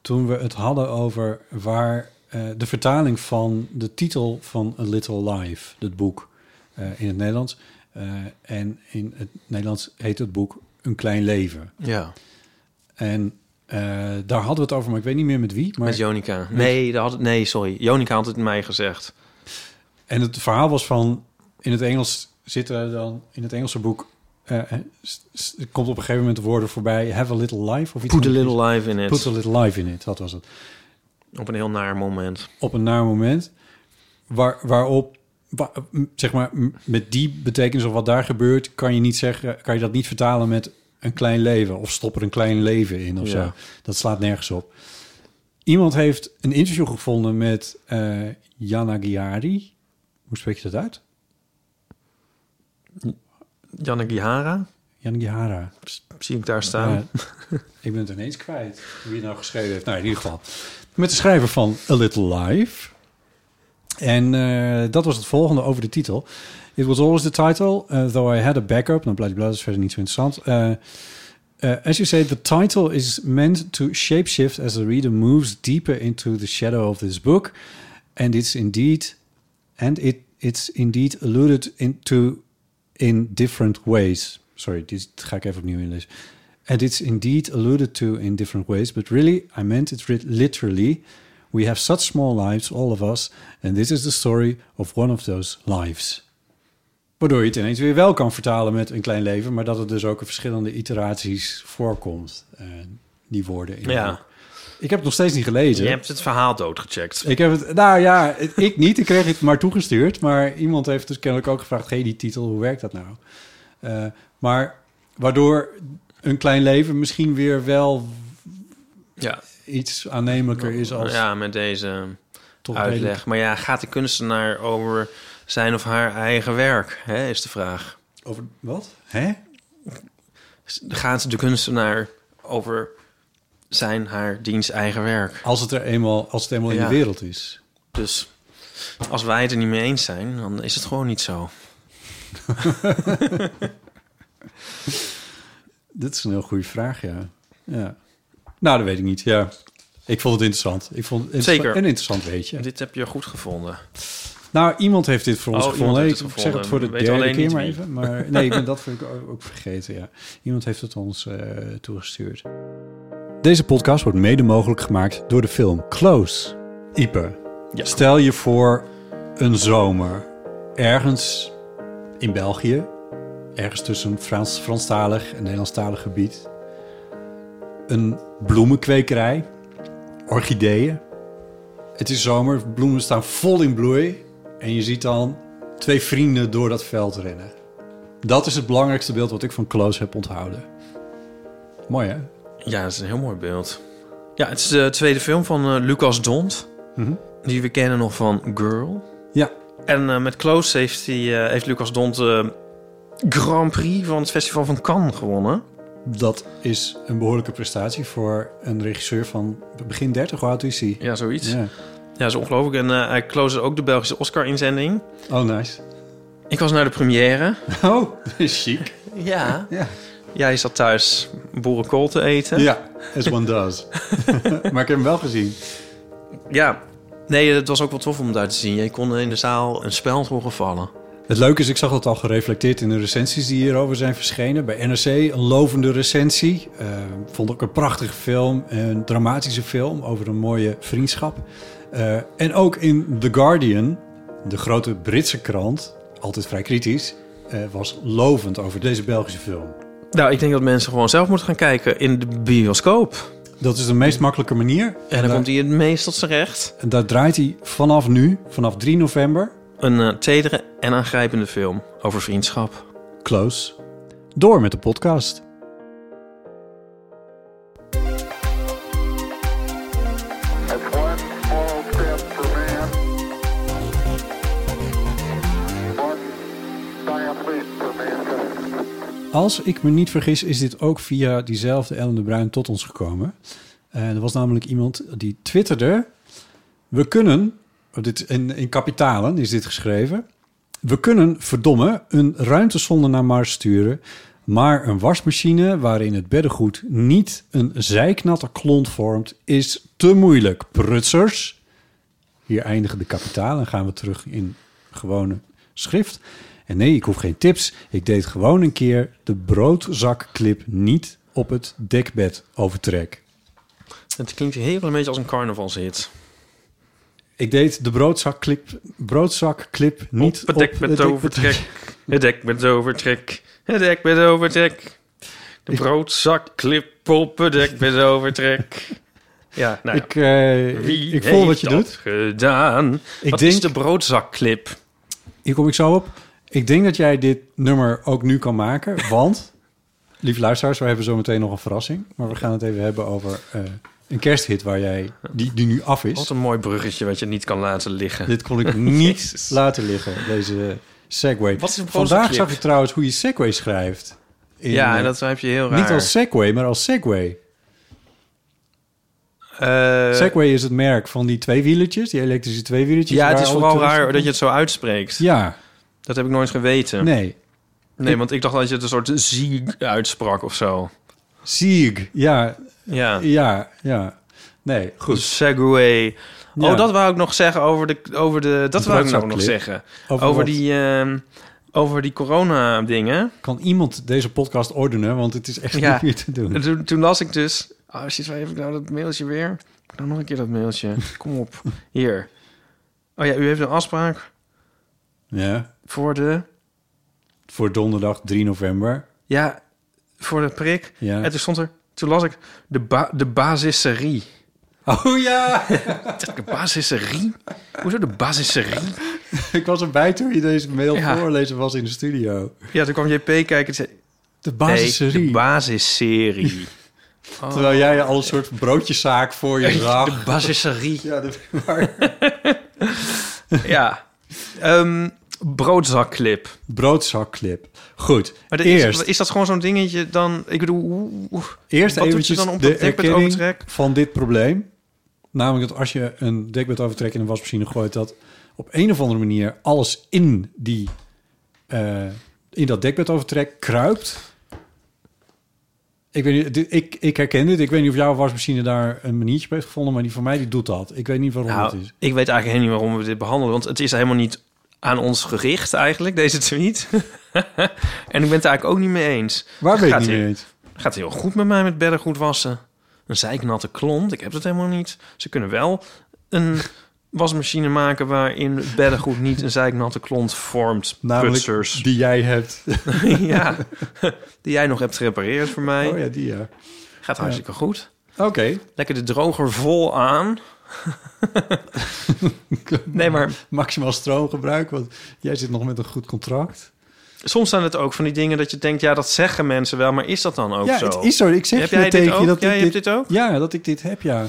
Speaker 2: Toen we het hadden over waar eh, de vertaling van de titel van A Little Life, dat boek eh, in het Nederlands. eh, en in het Nederlands heet het boek Een Klein Leven.
Speaker 3: Ja.
Speaker 2: En eh, daar hadden we het over, maar ik weet niet meer met wie. Maar
Speaker 3: Met Jonica. Nee, dat had, nee, sorry. Jonica had het mij gezegd.
Speaker 2: En het verhaal was van in het Engels zitten dan in het Engelse boek. eh, s- s- er komt op een gegeven moment de woorden voorbij. Have a little life of iets.
Speaker 3: Put a
Speaker 2: van-
Speaker 3: little life in
Speaker 2: Put a
Speaker 3: it.
Speaker 2: little life in it. Dat was het.
Speaker 3: Op een heel naar moment.
Speaker 2: Op een naar moment waar, waarop wa- m- zeg maar m- met die betekenis of wat daar gebeurt, kan je niet zeggen, kan je dat niet vertalen met een klein leven of stop er een klein leven in of
Speaker 3: Ja.
Speaker 2: zo. Dat slaat nergens op. Iemand heeft een interview gevonden met eh Jana Giari. Hoe spreek je dat uit?
Speaker 3: Janneke Hara,
Speaker 2: Jana Gihara.
Speaker 3: zie ik daar staan.
Speaker 2: Ja. ik ben het ineens kwijt. Wie het nou geschreven heeft. Nou, in ieder geval. Met de schrijver van A Little Life. En eh, dat was het volgende over de titel. It was always the title, eh, though I had a backup. Nou, blijkbaar dat is verder niet zo interessant. Eh, eh, as you say, the title is meant to shapeshift as the reader moves deeper into the shadow of this book. And it's indeed, and it, it's indeed alluded into in different ways. Sorry, dit ga ik even opnieuw inlezen. And it's indeed alluded to in different ways, but really, I meant it writ- literally. We have such small lives, all of us, and this is the story of one of those lives. Waardoor je het ineens weer wel kan vertalen met een klein leven, maar dat het dus ook in verschillende iteraties voorkomt, eh, die woorden. In het
Speaker 3: Ja.
Speaker 2: boek. Ik heb het nog steeds niet gelezen.
Speaker 3: Je hebt het verhaal doodgecheckt.
Speaker 2: Ik heb het, nou ja, ik niet. Ik kreeg het maar toegestuurd. Maar iemand heeft dus kennelijk ook gevraagd: hey, die titel, hoe werkt dat nou? Eh, maar waardoor een klein leven misschien weer wel
Speaker 3: Ja.
Speaker 2: iets aannemelijker is als
Speaker 3: ja, met deze
Speaker 2: toch
Speaker 3: uitleg.
Speaker 2: redelijk-
Speaker 3: Maar ja, gaat de kunstenaar over zijn of haar eigen werk? Hè, is de vraag.
Speaker 2: Over wat? Hè?
Speaker 3: Gaat de kunstenaar over zijn, haar, diens eigen werk?
Speaker 2: Als het er eenmaal, als het eenmaal in
Speaker 3: Ja.
Speaker 2: de wereld is.
Speaker 3: Dus als wij het er niet mee eens zijn, dan is het gewoon niet zo.
Speaker 2: Dit is een heel goede vraag, ja. ja. Nou, dat weet ik niet. Ja. Ik vond het interessant. Ik vond het inter-
Speaker 3: Zeker.
Speaker 2: een interessant weetje.
Speaker 3: Dit heb je goed gevonden.
Speaker 2: Nou, iemand heeft dit voor ons
Speaker 3: Oh, iemand
Speaker 2: gevonden. Ik
Speaker 3: heeft
Speaker 2: zeg
Speaker 3: het
Speaker 2: het
Speaker 3: gevonden.
Speaker 2: voor de
Speaker 3: Weet
Speaker 2: derde
Speaker 3: alleen
Speaker 2: keer
Speaker 3: niet
Speaker 2: maar
Speaker 3: wie.
Speaker 2: even. Maar, nee, ik ben dat vind ik ook, ook vergeten, ja. Iemand heeft het ons eh, toegestuurd. Deze podcast wordt mede mogelijk gemaakt door de film Close. Ipe,
Speaker 3: Ja.
Speaker 2: stel je voor een zomer ergens in België... ergens tussen Frans, Franstalig en Nederlandstalig gebied... een bloemenkwekerij, orchideeën... Het is zomer, bloemen staan vol in bloei. En je ziet dan twee vrienden door dat veld rennen. Dat is het belangrijkste beeld wat ik van Close heb onthouden. Mooi hè?
Speaker 3: Ja, dat is een heel mooi beeld. Ja, het is de tweede film van eh, Lucas Dont. Die we kennen nog van Girl.
Speaker 2: Ja.
Speaker 3: En eh, met Close heeft, hij, eh, heeft Lucas Dont de Grand Prix van het Festival van Cannes gewonnen.
Speaker 2: Dat is een behoorlijke prestatie voor een regisseur van begin 30. Hoe oud is hij?
Speaker 3: Ja, zoiets. Ja,
Speaker 2: Ja.
Speaker 3: dat is ongelooflijk. En eh, hij close ook de Belgische Oscar-inzending.
Speaker 2: Oh, nice.
Speaker 3: Ik was naar de première.
Speaker 2: Oh, chic.
Speaker 3: Ja.
Speaker 2: Ja.
Speaker 3: Jij zat thuis boerenkool te eten.
Speaker 2: Ja, as one does. maar ik heb hem wel gezien.
Speaker 3: Ja. Nee, het was ook wel tof om daar te zien. Je kon in de zaal een speld horen vallen.
Speaker 2: Het leuke is, ik zag dat al gereflecteerd in de recensies die hierover zijn verschenen. Bij NRC een lovende recensie. Eh, vond ik een prachtige film, een dramatische film over een mooie vriendschap. Eh, en ook in The Guardian, de grote Britse krant, altijd vrij kritisch, eh, was lovend over deze Belgische film.
Speaker 3: Nou, ik denk dat mensen gewoon zelf moeten gaan kijken in de bioscoop.
Speaker 2: Dat is de meest makkelijke manier. En,
Speaker 3: En dan
Speaker 2: daar,
Speaker 3: komt hij het meest tot zijn recht.
Speaker 2: en daar draait hij vanaf nu, vanaf 3 november,
Speaker 3: Een eh, tedere en aangrijpende film over vriendschap.
Speaker 2: close, door met de podcast.
Speaker 6: That's one small step for man, one giant leap for mankind.
Speaker 2: Als ik me niet vergis, is dit ook via diezelfde Ellen de Bruin tot ons gekomen. En er was namelijk iemand die twitterde... We kunnen, oh, dit, in, in kapitalen is dit geschreven... We kunnen, verdomme, een ruimtesonde naar Mars sturen... maar een wasmachine waarin het beddengoed niet een zijknatte klont vormt... is te moeilijk, prutsers. Hier eindigen de kapitalen. Gaan we terug in gewone schrift. En nee, ik hoef geen tips. Ik deed gewoon een keer de broodzakclip niet op het dekbed overtrek.
Speaker 3: Het klinkt heel een beetje als een carnavalshit.
Speaker 2: Ik deed de broodzakclip, broodzakclip niet
Speaker 3: Op het dek met overtrek. Het dek met overtrek. Het dek met overtrek. De broodzakclip op het dek met overtrek. Ja, nou ja.
Speaker 2: Ik, eh,
Speaker 3: Wie
Speaker 2: ik voel wat
Speaker 3: heeft
Speaker 2: je
Speaker 3: dat
Speaker 2: doet.
Speaker 3: gedaan?
Speaker 2: Ik
Speaker 3: wat
Speaker 2: denk-
Speaker 3: is de broodzakclip?
Speaker 2: Hier kom ik zo op. Ik denk dat jij dit nummer ook nu kan maken. Want, lieve luisteraars, we hebben zo meteen nog een verrassing. Maar we gaan het even hebben over eh, een kersthit waar jij, die, die nu af is.
Speaker 3: Wat een mooi bruggetje wat je niet kan laten liggen.
Speaker 2: Dit kon ik niet
Speaker 3: Jezus.
Speaker 2: laten liggen, deze Segway.
Speaker 3: Wat is een
Speaker 2: Vandaag
Speaker 3: prototype?
Speaker 2: zag ik trouwens hoe je Segway schrijft. In,
Speaker 3: ja,
Speaker 2: eh,
Speaker 3: en dat heb je heel raar.
Speaker 2: Niet als Segway, maar als Segway.
Speaker 3: Eh,
Speaker 2: Segway is het merk van die tweewielertjes, die elektrische tweewielertjes.
Speaker 3: Ja,
Speaker 2: waar
Speaker 3: het is
Speaker 2: alle
Speaker 3: vooral
Speaker 2: toeristen-
Speaker 3: raar dat je het zo uitspreekt.
Speaker 2: Ja,
Speaker 3: Dat heb ik nooit geweten. Nee,
Speaker 2: nee.
Speaker 3: want ik dacht dat je het een soort zieg uitsprak of zo.
Speaker 2: Sieg. Ja,
Speaker 3: Ja.
Speaker 2: ja, ja. Nee, goed.
Speaker 3: Dus Segway.
Speaker 2: Ja.
Speaker 3: Oh, dat wou ik nog zeggen over de... Over de dat wou ik nou nog
Speaker 2: broodzakclip.
Speaker 3: zeggen.
Speaker 2: Over
Speaker 3: Over,
Speaker 2: wat?
Speaker 3: die... ehm, over die corona-dingen.
Speaker 2: Kan iemand deze podcast ordenen? Want het is echt
Speaker 3: Ja.
Speaker 2: niet meer te doen.
Speaker 3: Toen, toen las ik dus... Oh shit, waar heb ik nou dat mailtje weer? Heb ik nou nog een keer dat mailtje? Kom op. Hier. Oh ja, u heeft een afspraak
Speaker 2: Ja.
Speaker 3: voor de...
Speaker 2: Voor donderdag 3 november.
Speaker 3: Ja, voor de prik.
Speaker 2: Ja.
Speaker 3: En toen stond er... Toen las ik de, ba de basisserie.
Speaker 2: Oh ja!
Speaker 3: De basisserie? Hoezo de basisserie?
Speaker 2: ik was erbij toen je deze mail
Speaker 3: Ja.
Speaker 2: voorlezen was in de studio.
Speaker 3: Ja, toen kwam JP kijken en zei...
Speaker 2: De
Speaker 3: Nee,
Speaker 2: basisserie.
Speaker 3: de basisserie.
Speaker 2: Terwijl jij al een soort broodjeszaak voor je zag.
Speaker 3: De basisserie.
Speaker 2: Ja, de, maar-
Speaker 3: Ja. Ehm, broodzakclip.
Speaker 2: broodzakclip. Goed,
Speaker 3: Maar dat
Speaker 2: eerst,
Speaker 3: Is, is dat gewoon zo'n dingetje dan? Ik bedoel, hoe- hoe-
Speaker 2: eerst
Speaker 3: wat doet
Speaker 2: eventjes
Speaker 3: je dan op
Speaker 2: de
Speaker 3: dat dekbed
Speaker 2: erkenning
Speaker 3: overtrek?
Speaker 2: van dit probleem. Namelijk dat als je een dekbed overtrek in een wasmachine gooit... dat op een of andere manier alles in, die, eh, in dat dekbed overtrek kruipt. Ik, weet niet, dit- ik, ik herken dit. Ik weet niet of jouw wasmachine daar een maniertje bij heeft gevonden... maar die van mij die doet dat. Ik weet niet waarom het
Speaker 3: Nou,
Speaker 2: is.
Speaker 3: ik weet eigenlijk helemaal niet waarom we dit behandelen, want het is helemaal niet aan ons gericht eigenlijk deze tweet. en ik ben het eigenlijk ook niet mee eens.
Speaker 2: Waar weet ik
Speaker 3: gaat
Speaker 2: niet
Speaker 3: hij-
Speaker 2: meer eens.
Speaker 3: Gaat heel goed met mij met beddengoed wassen. Een zeiknatte klont, ik heb dat helemaal niet. Ze kunnen wel een wasmachine maken waarin beddengoed niet een zeiknatte klont vormt.
Speaker 2: Namelijk
Speaker 3: Putsers.
Speaker 2: die jij hebt.
Speaker 3: ja, die jij nog hebt gerepareerd voor mij.
Speaker 2: Oh ja, die ja.
Speaker 3: Gaat hartstikke goed.
Speaker 2: Oké.
Speaker 3: Lekker de droger vol aan. nee, maar
Speaker 2: maximaal stroomgebruik. Want jij zit nog met een goed contract.
Speaker 3: soms zijn het ook van die dingen dat je denkt... ja, dat zeggen mensen wel, maar is dat dan ook
Speaker 2: ja,
Speaker 3: zo?
Speaker 2: het is zo. Ik zeg
Speaker 3: Heb
Speaker 2: je
Speaker 3: jij dit
Speaker 2: tegen
Speaker 3: ook?
Speaker 2: je dat
Speaker 3: Jij
Speaker 2: ik
Speaker 3: hebt dit ook?
Speaker 2: Ja, dat ik dit heb, ja.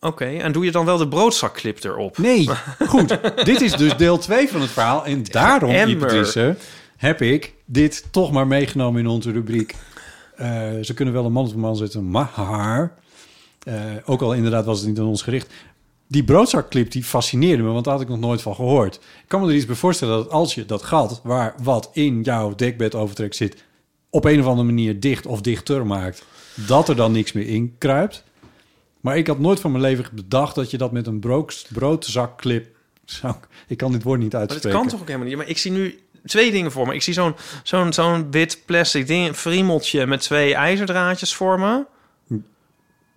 Speaker 3: Oké, en doe je dan wel de broodzakclip erop?
Speaker 2: Nee, goed. Dit is dus deel 2 van het verhaal. En daarom,
Speaker 3: emmer.
Speaker 2: Ipatrice, heb ik dit toch maar meegenomen in onze rubriek. Eh, ze kunnen wel een man op een man zetten, maar... eh, ook al inderdaad was het niet aan ons gericht. Die broodzakclip die fascineerde me, want daar had ik nog nooit van gehoord. Ik kan me er iets bij voorstellen dat als je dat gat... waar wat in jouw dekbed overtrek zit... op een of andere manier dicht of dichter maakt... dat er dan niks meer in kruipt. Maar ik had nooit van mijn leven bedacht dat je dat met een brood, broodzakclip zou. Ik kan dit woord niet
Speaker 3: Maar dat
Speaker 2: uitspreken.
Speaker 3: kan toch ook helemaal niet? Maar ik zie nu twee dingen voor me. Ik zie zo'n zo'n zo'n wit plastic ding, friemeltje met twee ijzerdraadjes voor me...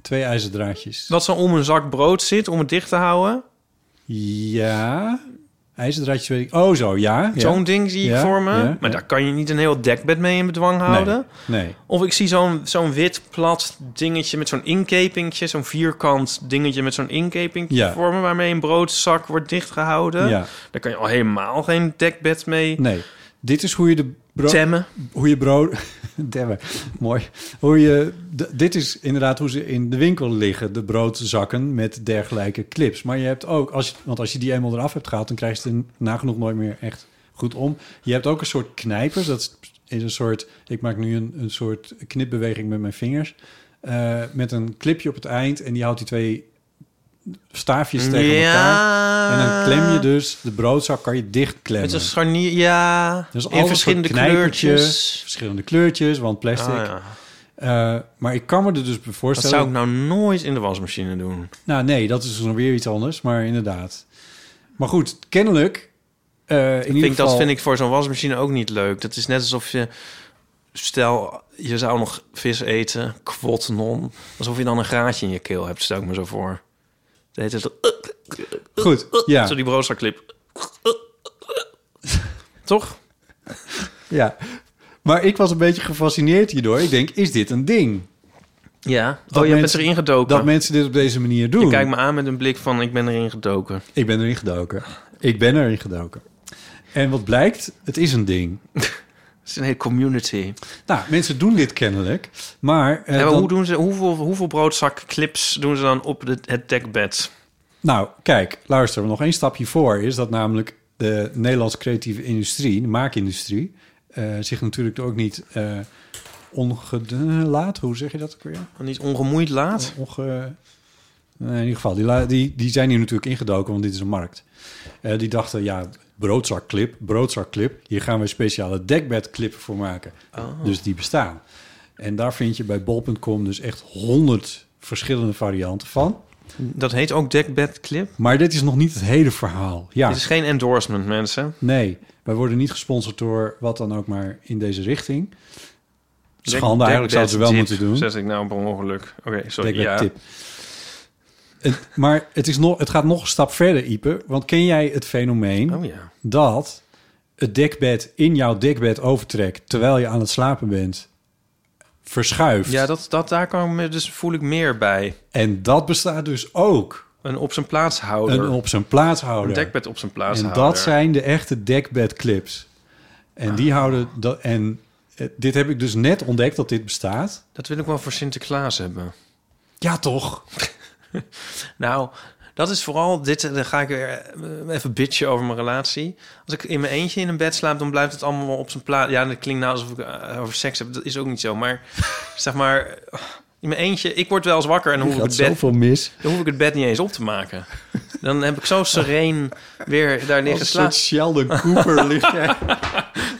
Speaker 2: Twee ijzerdraadjes.
Speaker 3: dat zo om een zak brood zit om het dicht te houden.
Speaker 2: Ja. IJzerdraadjes weet ik. Oh, zo, ja. ja.
Speaker 3: Zo'n ding zie ik
Speaker 2: Ja,
Speaker 3: voor me.
Speaker 2: ja,
Speaker 3: maar
Speaker 2: ja.
Speaker 3: daar kan je niet een heel dekbed mee in bedwang houden.
Speaker 2: Nee. nee.
Speaker 3: Of ik zie zo'n zo'n wit plat dingetje met zo'n inkepingje, zo'n vierkant dingetje met zo'n inkepingje
Speaker 2: Ja.
Speaker 3: vormen waarmee een broodzak wordt dichtgehouden.
Speaker 2: Ja.
Speaker 3: Daar kan je al helemaal geen dekbed mee
Speaker 2: Nee. Dit is hoe je de brood.
Speaker 3: temmen.
Speaker 2: Hoe je brood. Demme. Mooi. Hoe je. d- dit is inderdaad hoe ze in de winkel liggen. De broodzakken met dergelijke clips. Maar je hebt ook. Als je, want als je die eenmaal eraf hebt gehaald. dan krijg je het nagenoeg nooit meer echt goed om. Je hebt ook een soort knijpers. Dat is- is een soort. Ik maak nu een, een soort knipbeweging met mijn vingers. eh, met een clipje op het eind. En die houdt die twee staafjes tegen elkaar. En dan klem je dus. De broodzak kan je dichtklemmen.
Speaker 3: Met een scharnier, ja.
Speaker 2: Dus
Speaker 3: in
Speaker 2: altijd
Speaker 3: verschillende
Speaker 2: soort knijpertjes,
Speaker 3: kleurtjes.
Speaker 2: Verschillende kleurtjes, want plastic.
Speaker 3: Ah, ja.
Speaker 2: Eh, maar ik kan me er dus bij
Speaker 3: Dat
Speaker 2: voorstellen...
Speaker 3: zou ik nou nooit in de wasmachine doen.
Speaker 2: Nou nee, dat is dan weer iets anders, maar inderdaad. Maar goed, kennelijk... eh, in
Speaker 3: Ik
Speaker 2: ieder
Speaker 3: vind,
Speaker 2: geval,
Speaker 3: dat vind ik voor zo'n wasmachine ook niet leuk. Dat is net alsof je... Stel, je zou nog vis eten, kwot non. Alsof je dan een graatje in je keel hebt, stel ik me zo voor. Dat heet het...
Speaker 2: Goed, ja.
Speaker 3: Zo die broodzaklip. Toch?
Speaker 2: ja. Maar ik was een beetje gefascineerd hierdoor. Ik denk, is dit een ding?
Speaker 3: Ja.
Speaker 2: Dat
Speaker 3: oh, je bent
Speaker 2: mensen-
Speaker 3: erin gedoken.
Speaker 2: Dat mensen dit op deze manier doen?
Speaker 3: je kijkt me aan met een blik van ik ben erin gedoken.
Speaker 2: Ik ben erin gedoken. Ik ben erin gedoken. En wat blijkt? Het is een ding.
Speaker 3: Het is een hele community.
Speaker 2: Nou, mensen doen dit kennelijk, maar... eh,
Speaker 3: Ja, maar
Speaker 2: dan-
Speaker 3: hoe doen ze, hoeveel, hoeveel broodzakclips doen ze dan op de, het dekbed?
Speaker 2: Nou, kijk, luister, nog één stapje voor is dat namelijk de Nederlandse creatieve industrie, de maakindustrie, eh, zich natuurlijk ook niet eh ongede- laat, hoe zeg je dat ook weer?
Speaker 3: Niet ongemoeid laat?
Speaker 2: Onge... Nee, in ieder geval, die, la- die, die zijn hier natuurlijk ingedoken, want dit is een markt. Eh, die dachten, ja, broodzakclip, broodzakclip, hier gaan we speciale dekbedclippen voor maken.
Speaker 3: Ah.
Speaker 2: Dus die bestaan. En daar vind je bij bol.com dus echt honderd verschillende varianten van.
Speaker 3: Dat heet ook dekbed clip.
Speaker 2: Maar dit is nog niet het hele verhaal. Ja,
Speaker 3: Dit is geen endorsement, mensen.
Speaker 2: nee. Wij worden niet gesponsord door wat dan ook maar in deze richting.
Speaker 3: Dek-
Speaker 2: Schande, eigenlijk
Speaker 3: dekbed
Speaker 2: zouden ze wel
Speaker 3: dip
Speaker 2: moeten doen.
Speaker 3: Zet ik nou per ongeluk. Oké, sorry.
Speaker 2: Dekbed
Speaker 3: ja.
Speaker 2: tip. Het- maar het, is nog, het gaat nog een stap verder, Ipe. Want ken jij het fenomeen
Speaker 3: Oh ja.
Speaker 2: dat het dekbed in jouw dekbed overtrekt... terwijl je aan het slapen bent, verschuift?
Speaker 3: Ja, dat, dat, daar kan me dus, voel ik meer bij.
Speaker 2: En dat bestaat dus ook.
Speaker 3: Een op zijn plaats houden.
Speaker 2: Een op zijn plaats houden.
Speaker 3: dekbed op zijn plaats
Speaker 2: En
Speaker 3: houden.
Speaker 2: dat zijn de echte dekbedclips. En
Speaker 3: Ah.
Speaker 2: die houden... Dat, en eh, dit heb ik dus net ontdekt dat dit bestaat.
Speaker 3: Dat wil ik wel voor Sinterklaas hebben.
Speaker 2: Ja, toch?
Speaker 3: Nou, dat is vooral dit. Dan ga ik weer eh, even bitchen over mijn relatie. Als ik in mijn eentje in een bed slaap, dan blijft het allemaal wel op zijn plaats. Ja, dat klinkt nou alsof ik eh, over seks heb. Dat is ook niet zo. Maar zeg maar, eh, in mijn eentje, ik word wel eens wakker en dan hoef, ik
Speaker 1: gaat
Speaker 3: het bed,
Speaker 1: zoveel mis.
Speaker 3: dan hoef ik het bed niet eens op te maken. Dan heb ik zo sereen weer daar
Speaker 2: Als
Speaker 3: liggen
Speaker 2: een soort
Speaker 3: slapen.
Speaker 2: Sheldon Cooper ligt jij.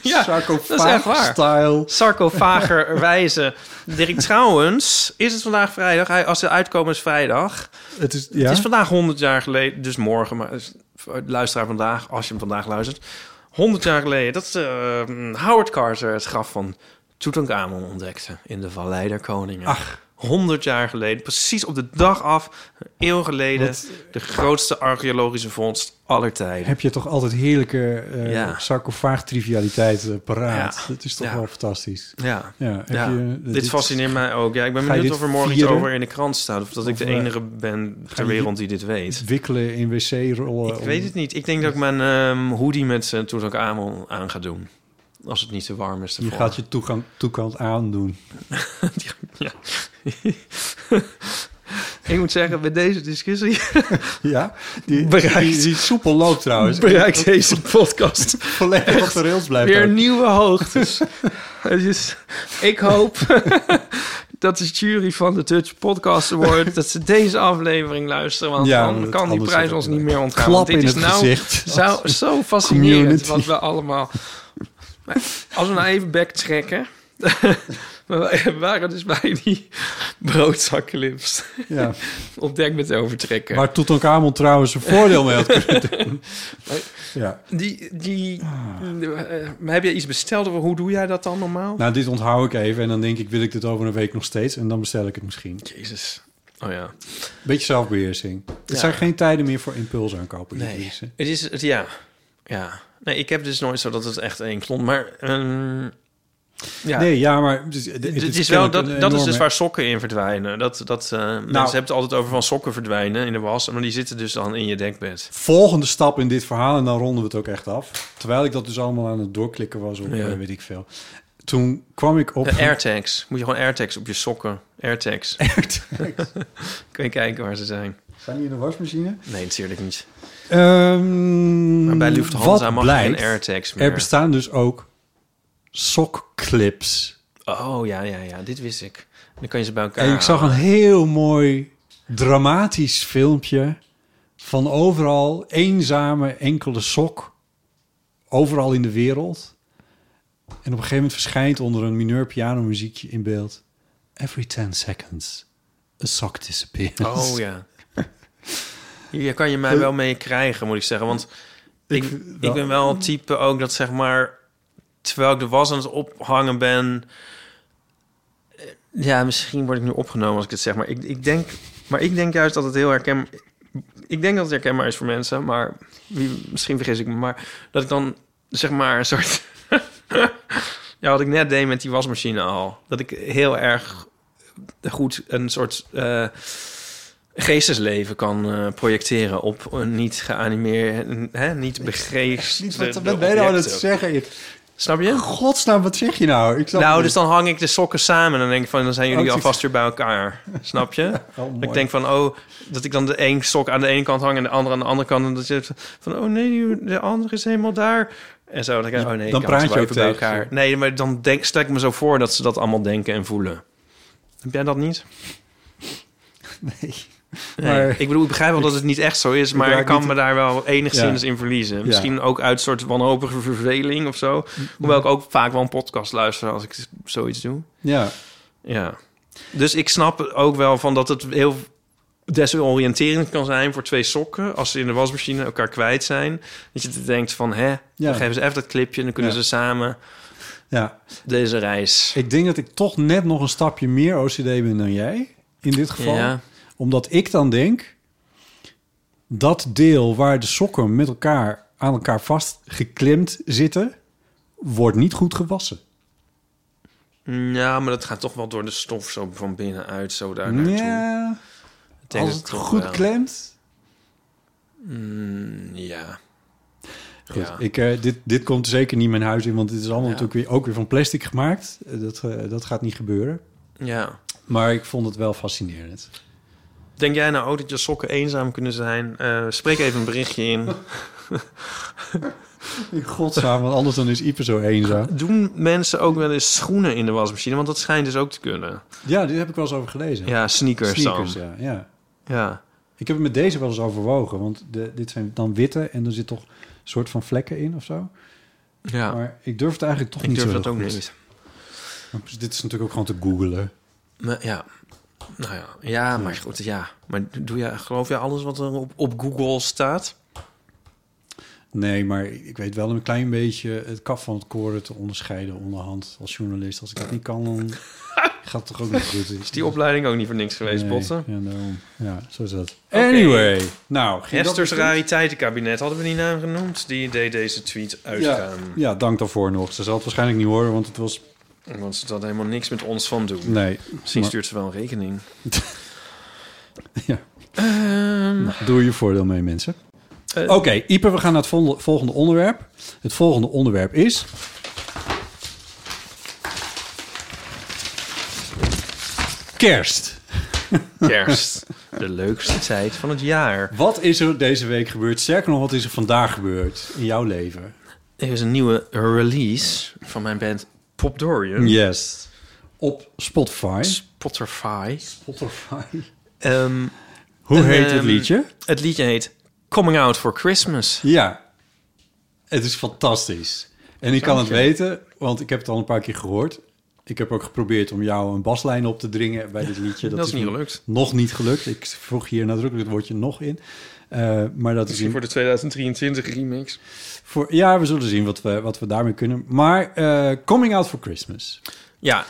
Speaker 3: Ja, dat is echt waar.
Speaker 2: Sarcofaag-style.
Speaker 3: Sarcofagerwijze. Dirk, trouwens, is het vandaag vrijdag? Hij- Als ze uitkomen is vrijdag.
Speaker 2: Het is, ja?
Speaker 3: Het is vandaag 100 jaar geleden, dus morgen, maar dus, voor de luisteraar vandaag, als je hem vandaag luistert. 100 jaar geleden dat eh, Howard Carter het graf van Tutankhamon ontdekte in de Vallei der Koningen. Ach. 100 jaar geleden, precies op de dag af, een eeuw geleden, de grootste archeologische vondst aller tijden.
Speaker 2: Heb je toch altijd heerlijke eh
Speaker 3: Ja.
Speaker 2: sarcofaag-trivialiteiten paraat.
Speaker 3: Ja.
Speaker 2: Dat is toch
Speaker 3: Ja.
Speaker 2: wel fantastisch.
Speaker 3: Ja.
Speaker 2: Ja, heb
Speaker 3: Ja.
Speaker 2: je- eh,
Speaker 3: dit,
Speaker 2: dit-
Speaker 3: fascineert mij ook. Ja, ik ben
Speaker 2: Ga je
Speaker 3: benieuwd
Speaker 2: dit
Speaker 3: of er morgen iets
Speaker 2: vieren?
Speaker 3: over in de krant staat. Of dat ik
Speaker 2: Of,
Speaker 3: de
Speaker 2: eh,
Speaker 3: enige ben ter
Speaker 2: je dit-
Speaker 3: wereld die dit weet.
Speaker 2: Wikkelen in wc-rollen.
Speaker 3: Ik weet het niet. Ik denk dat ik mijn ehm, hoodie met uh, Tutankhamon aan ga doen. Als het niet te warm is.
Speaker 2: Je
Speaker 3: ervoor.
Speaker 2: gaat je toegang, toekant aandoen.
Speaker 3: Ja. ik moet zeggen, bij deze discussie
Speaker 2: Ja? Die,
Speaker 3: Bereikt.
Speaker 2: die, die soepel loopt trouwens.
Speaker 3: bereikt deze podcast
Speaker 2: Volledig op de rails blijft
Speaker 3: weer
Speaker 2: ook.
Speaker 3: nieuwe hoogtes. Het is- ik hoop dat de jury van de Dutch Podcast Award... dat ze deze aflevering luisteren. Want
Speaker 2: Ja,
Speaker 3: dan
Speaker 2: dat
Speaker 3: kan die
Speaker 2: anders
Speaker 3: prijs
Speaker 2: is het
Speaker 3: ons niet
Speaker 2: niet.
Speaker 3: meer ontgaan.
Speaker 2: Klap
Speaker 3: want dit
Speaker 2: in
Speaker 3: is
Speaker 2: het
Speaker 3: nou
Speaker 2: gezicht.
Speaker 3: Zo, zo fascinerend
Speaker 2: community.
Speaker 3: wat we allemaal... Maar als we nou even backtracken... we waren dus bij die broodzakclips.
Speaker 2: Ja.
Speaker 3: Ontdek met overtrekken.
Speaker 2: Waar Tutankhamon trouwens een voordeel mee had kunnen doen. Ja.
Speaker 3: die, die, eh, heb je iets besteld? Of hoe doe jij dat dan normaal?
Speaker 2: Nou, dit onthoud ik even en dan denk ik, wil ik dit over een week nog steeds? En dan bestel ik het misschien.
Speaker 3: Jezus. Oh ja.
Speaker 2: Beetje zelfbeheersing. Het
Speaker 3: Ja.
Speaker 2: zijn geen tijden meer voor impulsaankopen.
Speaker 3: Nee.
Speaker 2: Lise.
Speaker 3: Het is het, ja. Ja. Nee, ik heb dus nooit zo dat het echt één klont. Maar ehm, ja.
Speaker 2: Nee, ja, maar... Het is, het
Speaker 3: Het,
Speaker 2: is
Speaker 3: is wel,
Speaker 2: kennelijk
Speaker 3: dat,
Speaker 2: een
Speaker 3: dat is dus
Speaker 2: enorme- Nou.
Speaker 3: waar sokken in verdwijnen. Dat, dat, eh, mensen hebben het altijd over van sokken verdwijnen in de was. Maar die zitten dus dan in je dekbed.
Speaker 2: Volgende stap in dit verhaal, en dan ronden we het ook echt af. Terwijl ik dat dus allemaal aan het doorklikken was op
Speaker 3: Ja.
Speaker 2: eh, weet ik veel. Toen kwam ik op...
Speaker 3: De airtags. Moet je gewoon airtags op je sokken. Airtags. Kun je kijken waar ze zijn.
Speaker 2: Zijn die in de wasmachine?
Speaker 3: Nee, natuurlijk niet.
Speaker 2: Ehm,
Speaker 3: Maar bij Lufthansa
Speaker 2: wat
Speaker 3: mag je
Speaker 2: blijkt,
Speaker 3: geen airtags meer.
Speaker 2: Er bestaan dus ook sokclips.
Speaker 3: Oh ja, ja, ja, dit wist ik. Dan kan je ze bij elkaar.
Speaker 2: En ik zag een heel mooi dramatisch filmpje van overal eenzame enkele sok. Overal in de wereld. En op een gegeven moment verschijnt onder een mineur pianomuziekje in beeld. Every 10 seconds, a sock disappears.
Speaker 3: halen. Oh ja. Hier kan je mij wel mee krijgen, moet ik zeggen. Want ik, ik, ben wel het type ook dat zeg maar. Terwijl ik de was aan het ophangen ben. eh, Ja, misschien word ik nu opgenomen als ik het zeg. Maar ik, ik, denk, maar ik denk juist dat het heel herkenbaar Ik denk dat het herkenbaar is voor mensen. Maar wie, misschien vergis ik me. Maar dat ik dan zeg maar een soort. ja, wat ik net deed met die wasmachine al. Dat ik heel erg goed een soort eh, geestesleven kan eh, projecteren op een niet geanimeerd, hè, niet
Speaker 2: Niet,
Speaker 3: begrepen.
Speaker 2: wat, wat ben je nou aan het zeggen?
Speaker 3: Snap je?
Speaker 2: Godsnaam, wat zeg je nou? Ik snap
Speaker 3: Nou,
Speaker 2: het
Speaker 3: dus dan hang ik de sokken samen en dan denk ik van, dan zijn jullie
Speaker 2: Oh, het is-
Speaker 3: alvast weer bij elkaar. Snap je?
Speaker 2: oh, mooi.
Speaker 3: ik denk van, oh, dat ik dan de één sok aan de ene kant hang en de andere aan de andere kant. En dat je hebt van, oh nee, die- de andere is helemaal daar. En zo, dan denk ik, oh nee,
Speaker 2: Dan
Speaker 3: ik hang
Speaker 2: praat
Speaker 3: ze
Speaker 2: je
Speaker 3: wel
Speaker 2: ook
Speaker 3: even bij
Speaker 2: tegen
Speaker 3: elkaar. Nee, maar dan denk, stel ik me zo voor dat ze dat allemaal denken en voelen. Heb jij dat niet? Nee.
Speaker 2: Maar-
Speaker 3: ik bedoel, ik begrijp wel dat het niet echt zo is, maar
Speaker 2: raak
Speaker 3: ik kan
Speaker 2: niet-
Speaker 3: me daar wel enigszins
Speaker 2: Ja.
Speaker 3: in verliezen. Misschien ook uit soort wanhopige verveling of zo. Hoewel ik ook vaak wel een podcast luister als ik zoiets doe.
Speaker 2: Ja,
Speaker 3: Ja. Dus ik snap ook wel van dat het heel desoriënterend kan zijn voor twee sokken... als ze in de wasmachine elkaar kwijt zijn. Dat je denkt van, hè, dan geven ze even dat clipje... en dan kunnen
Speaker 2: Ja.
Speaker 3: ze samen
Speaker 2: Ja,
Speaker 3: deze reis.
Speaker 2: ik denk dat ik toch net nog een stapje meer OCD ben dan jij in dit geval.
Speaker 3: Ja.
Speaker 2: Omdat ik dan denk dat deel waar de sokken met elkaar aan elkaar vastgeklemd zitten, wordt niet goed gewassen.
Speaker 3: Ja, maar dat gaat toch wel door de stof zo van binnenuit, zo
Speaker 2: Ah,
Speaker 3: daar naartoe.
Speaker 2: Ja,
Speaker 3: Ik denk
Speaker 2: als
Speaker 3: dat
Speaker 2: het
Speaker 3: toch
Speaker 2: goed
Speaker 3: wel.
Speaker 2: klemt.
Speaker 3: Ja.
Speaker 2: Goed,
Speaker 3: Ja.
Speaker 2: ik, eh, dit, dit komt zeker niet mijn huis in, want dit is allemaal natuurlijk weer, ook weer van plastic gemaakt. Eh, Dat, eh, dat gaat niet gebeuren.
Speaker 3: ja.
Speaker 2: Maar ik vond het wel fascinerend.
Speaker 3: Denk jij nou ook dat je sokken eenzaam kunnen zijn? Eh, spreek even een berichtje in.
Speaker 2: In godsnaam, want anders dan is Ieper zo eenzaam.
Speaker 3: Doen mensen ook wel eens schoenen in de wasmachine? Want dat schijnt dus ook te kunnen.
Speaker 2: Ja, dit heb ik wel eens over gelezen.
Speaker 3: Ja, sneakers,
Speaker 2: Sneakers,
Speaker 3: dan.
Speaker 2: ja, ja.
Speaker 3: Ja.
Speaker 2: Ik heb het met deze wel eens overwogen, want de, dit zijn dan witte en er zit toch een soort van vlekken in of zo.
Speaker 3: ja.
Speaker 2: Maar ik durf het eigenlijk toch
Speaker 3: Ik
Speaker 2: niet
Speaker 3: durf
Speaker 2: zo
Speaker 3: dat ook
Speaker 2: heel goed.
Speaker 3: niet.
Speaker 2: Dus dit is natuurlijk ook gewoon te googlen.
Speaker 3: Maar, ja. Nou ja. ja, maar goed, ja. Maar doe jij, geloof je alles wat er op, op Google staat?
Speaker 2: Nee, maar ik weet wel een klein beetje het kaf van het koren te onderscheiden onderhand als journalist. Als ik dat niet kan, dan gaat het toch ook niet goed. Is
Speaker 3: Die opleiding ook niet voor niks geweest, Botten.
Speaker 2: Ja, daarom. ja, zo is dat. Anyway. Nou, ging dat
Speaker 3: Hester's
Speaker 2: bespreken?
Speaker 3: rariteitenkabinet hadden we die naam genoemd. Die deed deze tweet
Speaker 2: ja,
Speaker 3: uitgaan.
Speaker 2: ja, dank daarvoor nog. Ze zal het waarschijnlijk niet horen, want het was...
Speaker 3: Want ze had helemaal niks met ons van doen.
Speaker 2: Nee.
Speaker 3: Misschien
Speaker 2: maar-
Speaker 3: stuurt ze wel een rekening.
Speaker 2: Ja. Doe je voordeel mee, mensen.
Speaker 3: Eh,
Speaker 2: Oké, Ieper, we gaan naar het vol- volgende onderwerp. Het volgende onderwerp is... Kerst.
Speaker 3: Kerst. De leukste tijd van het jaar.
Speaker 2: Wat is er deze week gebeurd? Sterker nog, wat is er vandaag gebeurd in jouw leven?
Speaker 3: Er is een nieuwe release van mijn band Pop Dorian.
Speaker 2: Yes. Op Spotify.
Speaker 3: Spotify.
Speaker 2: Spotify.
Speaker 3: Ehm,
Speaker 2: Hoe
Speaker 3: En,
Speaker 2: heet het
Speaker 3: ehm,
Speaker 2: liedje?
Speaker 3: het liedje heet Coming Out for Christmas.
Speaker 2: Ja. Het is fantastisch. En ik kan het weten, want ik heb het al een paar keer gehoord. Ik heb ook geprobeerd om jou een baslijn op te dringen bij dit liedje.
Speaker 3: Dat is niet
Speaker 2: me
Speaker 3: gelukt.
Speaker 2: Nog niet gelukt. Ik vroeg hier nadrukkelijk het woordje nog in. Eh, maar dat is in-
Speaker 3: de 2023 remix.
Speaker 2: voor, ja, we zullen zien wat we, wat we daarmee kunnen. Maar eh, Coming Out for Christmas.
Speaker 3: Ja,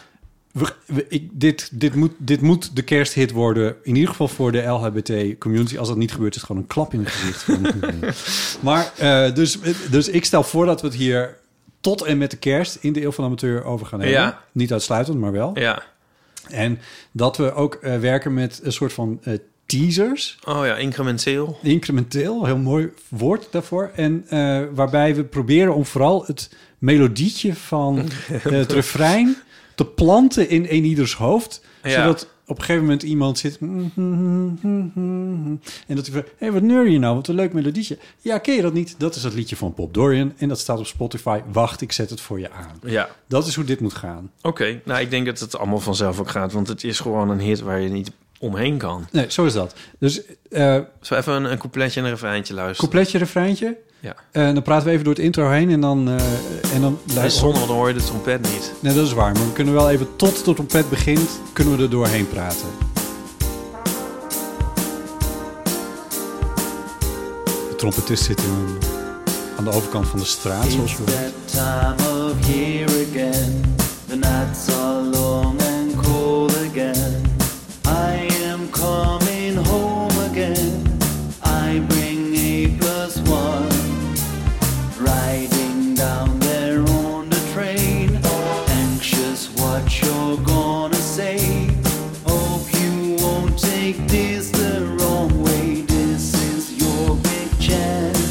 Speaker 2: We- we- ik, dit, dit, moet, dit moet de kersthit worden. In ieder geval voor de LHBT-community. Als dat niet gebeurt, is het gewoon een klap in het gezicht. Van- maar eh, dus, dus ik stel voor dat we het hier tot en met de kerst in de Eeuw van de Amateur over gaan hebben.
Speaker 3: Ja.
Speaker 2: Niet uitsluitend, maar wel.
Speaker 3: ja.
Speaker 2: En dat we ook eh, werken met een soort van eh, teasers.
Speaker 3: Oh ja, incrementeel.
Speaker 2: Incrementeel, heel mooi woord daarvoor. En eh, waarbij we proberen om vooral het melodietje van eh, het refrein te planten in een ieders hoofd.
Speaker 3: Ja.
Speaker 2: Zodat op een gegeven moment iemand zit... "Mm, En dat hij vraagt, hé, hey, wat neur je nou? Wat een leuk melodietje. Ja, ken je dat niet? Dat is het liedje van Pop Dorian. En dat staat op Spotify. Wacht, ik zet het voor je aan.
Speaker 3: Ja,
Speaker 2: Dat is hoe dit moet gaan.
Speaker 3: oké. Nou, ik denk dat het allemaal vanzelf ook gaat. Want het is gewoon een hit waar je niet omheen kan.
Speaker 2: Nee, zo is dat. Dus eh
Speaker 3: Zo even een, een coupletje en een refreintje luisteren.
Speaker 2: coupletje, refreintje.
Speaker 3: ja.
Speaker 2: En dan praten we even door het intro heen. En dan, eh en dan
Speaker 3: En zonder dan hoor je de trompet niet.
Speaker 2: Nee, dat is waar. Maar we kunnen wel even tot de trompet begint, kunnen we er doorheen praten. De trompetist zit in een- aan de overkant van de straat, zoals we...
Speaker 7: That time of year again, the nights are long and cold again. I am coming home again. I bring a plus one, riding down there on the train. Anxious what you're gonna say. Hope you won't take this the wrong way. This is your big chance.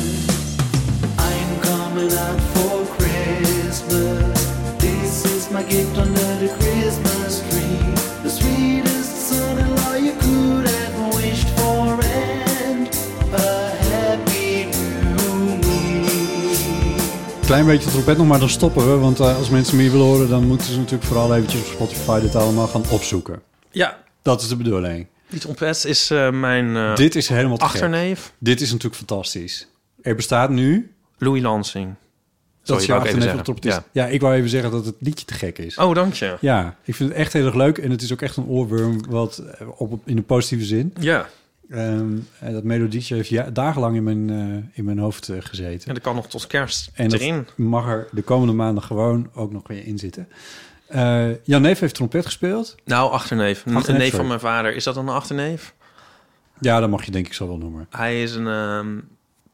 Speaker 7: I'm coming out for Christmas. This is my gift under the Christmas tree. The sweetest son in law you could have wished for, and a happy new me.
Speaker 2: Klein beetje trompet nog, maar dan stoppen we. Want eh, als mensen meer willen horen, dan moeten ze natuurlijk vooral eventjes op Spotify dit allemaal gaan opzoeken.
Speaker 3: Ja,
Speaker 2: Dat is de bedoeling.
Speaker 3: die trompet is eh, mijn eh,
Speaker 2: Dit is helemaal te gek.
Speaker 3: achterneef.
Speaker 2: Dit is natuurlijk fantastisch. Er bestaat nu...
Speaker 3: Louis Lansing.
Speaker 2: Dat
Speaker 3: Sorry,
Speaker 2: is
Speaker 3: wou
Speaker 2: jouw
Speaker 3: ik even
Speaker 2: achterneef op de
Speaker 3: zeggen.
Speaker 2: trompetist. Ja. ik wou even zeggen dat het liedje te gek is.
Speaker 3: Oh, dank je.
Speaker 2: Ja, ik vind het echt heel erg leuk. En het is ook echt een oorworm wat eh, op, in de positieve zin.
Speaker 3: Ja.
Speaker 2: Ehm, en dat melodietje heeft ja, dagenlang in mijn, eh, in mijn hoofd eh, gezeten.
Speaker 3: En dat kan nog tot kerst
Speaker 2: En dat
Speaker 3: erin.
Speaker 2: mag er de komende maanden gewoon ook nog weer in zitten. Eh Jan Neef heeft trompet gespeeld.
Speaker 3: Nou, achterneef. Een
Speaker 2: Achterneef,
Speaker 3: neef
Speaker 2: sorry.
Speaker 3: van mijn vader. Is dat dan een achterneef?
Speaker 2: Ja, dat mag je denk ik zo wel noemen.
Speaker 3: Hij is een ehm,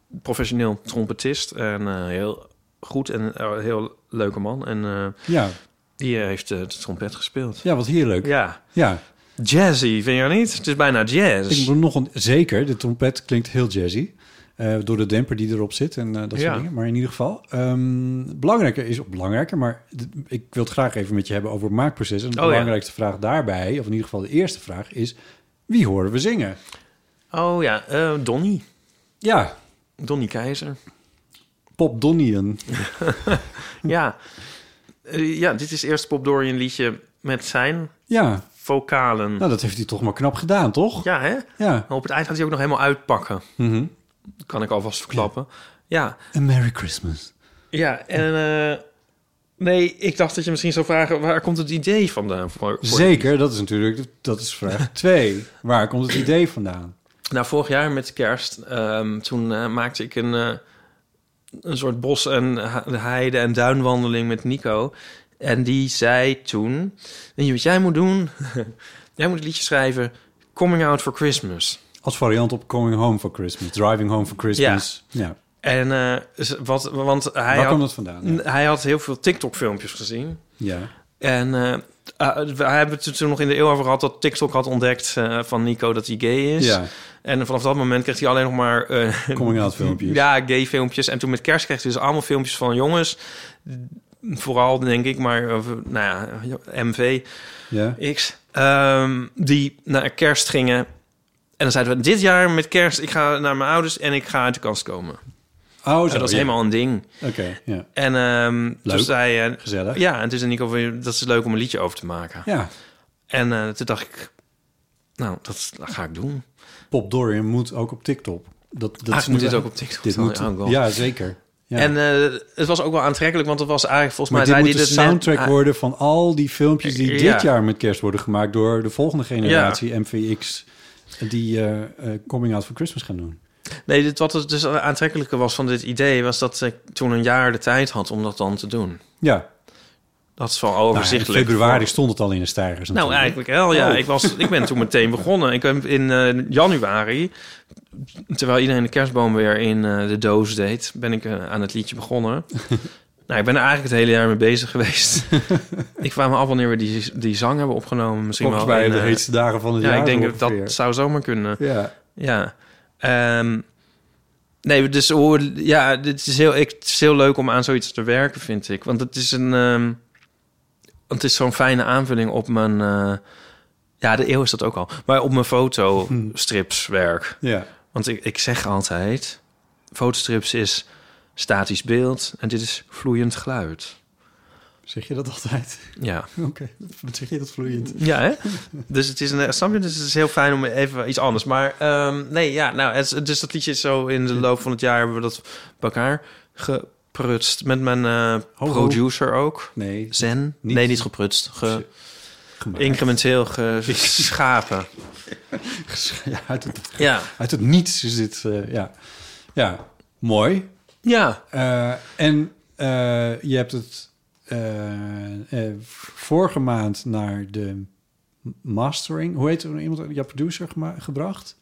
Speaker 3: professioneel trompetist. En eh, heel goed en eh, heel leuke man. En eh,
Speaker 2: Ja,
Speaker 3: die eh, heeft eh, de trompet gespeeld.
Speaker 2: ja wat heerlijk. Ja.
Speaker 3: Ja. Jazzy, vind je dat niet? Het is bijna jazz.
Speaker 2: Ik moet nog een, zeker, de trompet klinkt heel jazzy. eh, door de demper die erop zit en eh, dat
Speaker 3: Ja.
Speaker 2: soort dingen. Maar in ieder geval, ehm, belangrijker is belangrijker. Maar d- ik wil het graag even met je hebben over het maakproces. En de
Speaker 3: Oh, ja.
Speaker 2: belangrijkste vraag daarbij, of in ieder geval de eerste vraag, is: wie horen we zingen?
Speaker 3: Oh ja, eh Donnie.
Speaker 2: Ja,
Speaker 3: Donnie Keizer.
Speaker 2: Pop Donnieën.
Speaker 3: ja. Eh, ja, dit is eerst Pop Dorian liedje met zijn
Speaker 2: Ja,
Speaker 3: vocalen.
Speaker 2: nou dat heeft hij toch maar knap gedaan, toch?
Speaker 3: Ja, hè?
Speaker 2: ja.
Speaker 3: En op het eind gaat hij ook nog helemaal uitpakken.
Speaker 2: Mhm.
Speaker 3: Dat kan ik alvast verklappen. Ja,
Speaker 2: A Merry Christmas.
Speaker 3: ja en... eh, nee, ik dacht dat je misschien zou vragen... waar komt het idee vandaan? Voor, voor-
Speaker 2: Zeker, dat is natuurlijk, dat is vraag 2. Waar komt het idee vandaan?
Speaker 3: Nou, vorig jaar met kerst... ehm, toen eh, maakte ik een, eh, een soort bos- en ha- heide- en duinwandeling met Nico. En die zei toen... Weet je wat jij moet doen? jij moet een liedje schrijven... Coming Out for Christmas.
Speaker 2: Als variant op Coming Home for Christmas, Driving Home for Christmas. Ja.
Speaker 3: En eh, z- wat, want hij
Speaker 2: Waar
Speaker 3: had,
Speaker 2: kwam dat vandaan? Ja.
Speaker 3: n- hij had heel veel TikTok-filmpjes gezien.
Speaker 2: Ja.
Speaker 3: En eh, ah, we hebben het er toen nog in de eeuw over gehad dat TikTok had ontdekt eh, van Nico dat hij gay is.
Speaker 2: Ja.
Speaker 3: En vanaf dat moment kreeg hij alleen nog maar eh,
Speaker 2: Coming out filmpjes.
Speaker 3: ja, gay filmpjes. En toen met kerst kreeg hij dus allemaal filmpjes van jongens. Vooral denk ik, maar eh, nou ja, MV.
Speaker 2: Ja.
Speaker 3: X. ehm, die naar kerst gingen. En dan zeiden we, dit jaar met kerst, ik ga naar mijn ouders en ik ga uit de kast komen.
Speaker 2: Oh,
Speaker 3: dat was
Speaker 2: ja.
Speaker 3: helemaal een ding.
Speaker 2: Oké, ja.
Speaker 3: En ehm
Speaker 2: Leuk.
Speaker 3: toen zei hij...
Speaker 2: Gezellig.
Speaker 3: Ja, en toen zei Nico, van, dat is leuk om een liedje over te maken.
Speaker 2: Ja,
Speaker 3: En eh, toen dacht ik, nou, dat, dat ga ik doen.
Speaker 2: Pop Dorian moet ook op TikTok. Dat, dat
Speaker 3: Eigenlijk
Speaker 2: is nu
Speaker 3: Ah, moet dit
Speaker 2: wel-
Speaker 3: ook op TikTok
Speaker 2: Dit
Speaker 3: dan,
Speaker 2: moet,
Speaker 3: ja, ook wel.
Speaker 2: ja, zeker. Ja.
Speaker 3: En eh, het was ook wel aantrekkelijk, want het was eigenlijk volgens
Speaker 2: maar dit
Speaker 3: mij...
Speaker 2: moet de
Speaker 3: zei hij dat net-
Speaker 2: soundtrack
Speaker 3: ah,
Speaker 2: worden van al die filmpjes die
Speaker 3: Ja.
Speaker 2: dit jaar met kerst worden gemaakt... door de volgende generatie MVX die eh, eh, Coming Out for Christmas gaan doen.
Speaker 3: Nee, dit, wat het dus aantrekkelijke was van dit idee... was dat ik toen een jaar de tijd had om dat dan te doen.
Speaker 2: Ja,
Speaker 3: Dat is wel
Speaker 2: Nou, in
Speaker 3: overzichtelijk.
Speaker 2: februari stond het al in de stijgers
Speaker 3: Nou,
Speaker 2: natuurlijk.
Speaker 3: eigenlijk wel, ja.
Speaker 2: Oh.
Speaker 3: Ik, was, ik ben toen meteen begonnen. Ik heb in eh, januari, terwijl iedereen de kerstboom weer in eh, de doos deed... ben ik eh, aan het liedje begonnen. nou, ik ben er eigenlijk het hele jaar mee bezig geweest. ik vraag me af wanneer we die, die zang hebben opgenomen. Misschien
Speaker 2: Volgens
Speaker 3: wel
Speaker 2: mij
Speaker 3: in,
Speaker 2: de
Speaker 3: eh,
Speaker 2: heetste dagen van het
Speaker 3: Ja,
Speaker 2: jaar.
Speaker 3: ik denk
Speaker 2: zo
Speaker 3: dat dat
Speaker 2: ongeveer.
Speaker 3: zou zomaar kunnen.
Speaker 2: Ja,
Speaker 3: Ja. Ehm, nee, dus hoe- ja, dit is heel, ik, het is heel leuk om aan zoiets te werken, vind ik. Want het is een. ehm, het is zo'n fijne aanvulling op mijn. eh, ja, de eeuw is dat ook al. Maar op mijn fotostripswerk.
Speaker 2: ja.
Speaker 3: Want ik, ik zeg altijd: fotostrips is statisch beeld en dit is vloeiend geluid.
Speaker 2: Zeg je dat altijd?
Speaker 3: Ja.
Speaker 2: Oké, wat zeg je dat vloeiend?
Speaker 3: Ja, hè? dus het is een snap je? Dus het is heel fijn om even iets anders. Maar ehm, nee, ja, nou, het, is- dus dat liedje is zo in de loop van het jaar hebben we dat bij elkaar geprutst met mijn eh,
Speaker 2: ho.
Speaker 3: producer ook.
Speaker 2: Nee,
Speaker 3: Zen?
Speaker 2: Niet-
Speaker 3: nee, niet geprutst. Ge,
Speaker 2: gemaakt.
Speaker 3: incrementeel geschapen.
Speaker 2: Ja, uit, het,
Speaker 3: ja.
Speaker 2: uit het niets is dit, eh, ja. Ja, mooi.
Speaker 3: Ja.
Speaker 2: Eh, en eh, je hebt het eh, eh, vorige maand naar de mastering... Hoe heet er iemand, jouw producer gema- gebracht?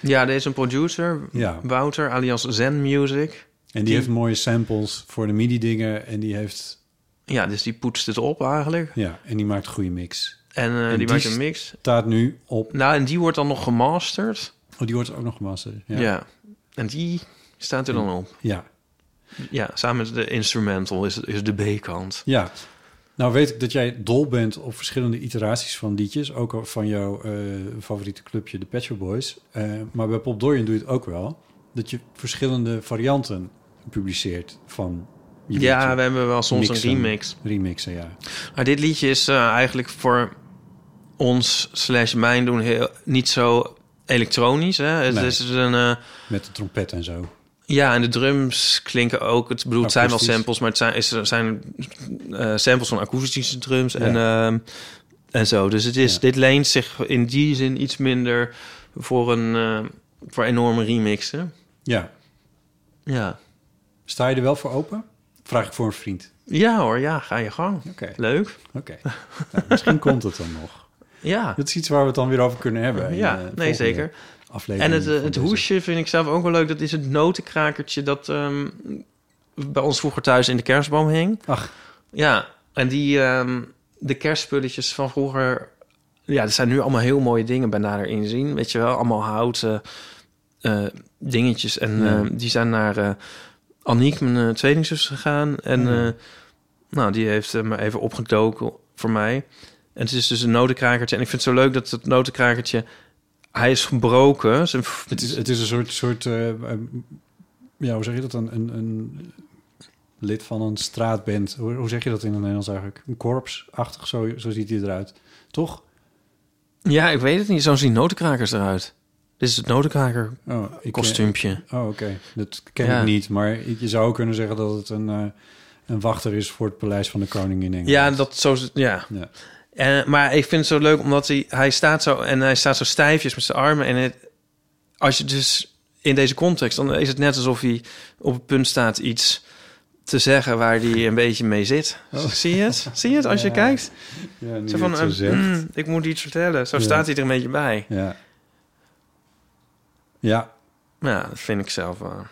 Speaker 3: Ja, er is een producer,
Speaker 2: Ja.
Speaker 3: Wouter, alias Zen Music.
Speaker 2: En die heeft mooie samples voor de midi-dingen. En die heeft...
Speaker 3: Ja, dus die poetst het op eigenlijk.
Speaker 2: Ja, en die maakt een goede mix.
Speaker 3: En, eh, die,
Speaker 2: die
Speaker 3: maakt
Speaker 2: st-
Speaker 3: een mix.
Speaker 2: Staat nu op...
Speaker 3: Nou, en die wordt dan nog gemasterd.
Speaker 2: Oh, die wordt ook nog gemasterd.
Speaker 3: Ja. En die staat er dan op.
Speaker 2: Ja,
Speaker 3: Ja, samen met de instrumental is, is de B-kant.
Speaker 2: ja. Nou weet ik dat jij dol bent op verschillende iteraties van liedjes. Ook al van jouw eh, favoriete clubje, de Pet Shop Boys. Eh, maar bij Pop Dorian doe je het ook wel. Dat je verschillende varianten publiceert van je
Speaker 3: Ja,
Speaker 2: liedje.
Speaker 3: we hebben wel soms
Speaker 2: Mixen.
Speaker 3: een remix.
Speaker 2: Remixen, ja.
Speaker 3: Maar dit liedje is eh, eigenlijk voor ons slash mijn doen heel, niet zo elektronisch. Hè? Het
Speaker 2: Nee.
Speaker 3: is een... eh,
Speaker 2: Met de trompet en zo.
Speaker 3: ja, en de drums klinken ook. Het, ik bedoel, het zijn wel
Speaker 2: Akoestisch.
Speaker 3: samples, maar het zijn, is, er zijn eh, samples van akoestische drums en, ehm, en zo. Dus het is,
Speaker 2: Ja.
Speaker 3: dit leent zich in die zin iets minder voor, een, eh, voor enorme remixen.
Speaker 2: Ja.
Speaker 3: Ja.
Speaker 2: Sta je er wel voor open? Vraag ik voor een vriend.
Speaker 3: ja hoor, ja, ga je gang.
Speaker 2: Oké.
Speaker 3: Leuk.
Speaker 2: Oké. Nou, misschien komt het dan nog.
Speaker 3: Ja,
Speaker 2: Dat is iets waar we het dan weer over kunnen hebben. in
Speaker 3: ja
Speaker 2: de volgende
Speaker 3: nee zeker. En
Speaker 2: Aflevering
Speaker 3: het, eh,
Speaker 2: van
Speaker 3: het
Speaker 2: deze.
Speaker 3: hoesje vind ik zelf ook wel leuk. Dat is het notenkrakertje dat ehm, bij ons vroeger thuis in de kerstboom hing.
Speaker 2: Ach.
Speaker 3: Ja, en die ehm, de kerstspulletjes van vroeger... Ja, er zijn nu allemaal heel mooie dingen bij nader inzien. Weet je wel, allemaal houten eh, dingetjes. En ehm, die zijn naar eh Aniek, mijn eh, tweelingzus, gegaan. En eh, nou, die heeft hem even opgedoken voor mij. En het is dus een notenkrakertje. En ik vind het zo leuk dat het notenkrakertje... Hij is gebroken. Zijn
Speaker 2: Het is, het is een soort, soort eh, ehm, ja, hoe zeg je dat? Een, een, een lid van een straatband. Hoe, hoe zeg je dat in het Nederlands eigenlijk? Een korpsachtig, zo, zo ziet hij eruit. Toch?
Speaker 3: Ja, ik weet het niet. Zo zien notenkrakers eruit. Dit is het notenkraker
Speaker 2: Oh, ik,
Speaker 3: kostuumpje.
Speaker 2: eh, oh, oké. Dat ken
Speaker 3: Ja.
Speaker 2: ik niet. Maar je zou kunnen zeggen dat het een, eh, een wachter is voor het paleis van de koning in Engeland.
Speaker 3: Ja, dat zo. is het- Ja.
Speaker 2: Ja.
Speaker 3: En, maar ik vind het zo leuk omdat hij, hij staat zo en hij staat zo stijfjes met zijn armen. En het, als je dus in deze context, dan is het net alsof hij op het punt staat iets te zeggen waar hij een beetje mee zit. Zie je het? Zie je het als je
Speaker 2: Oh. Ja.
Speaker 3: kijkt?
Speaker 2: Ja, nu
Speaker 3: Zo
Speaker 2: je
Speaker 3: van,
Speaker 2: het zo
Speaker 3: eh,
Speaker 2: zegt.
Speaker 3: mm, ik moet iets vertellen. Zo
Speaker 2: Ja.
Speaker 3: staat hij er een beetje bij.
Speaker 2: Ja. Ja.
Speaker 3: Nou, Ja, dat vind ik zelf wel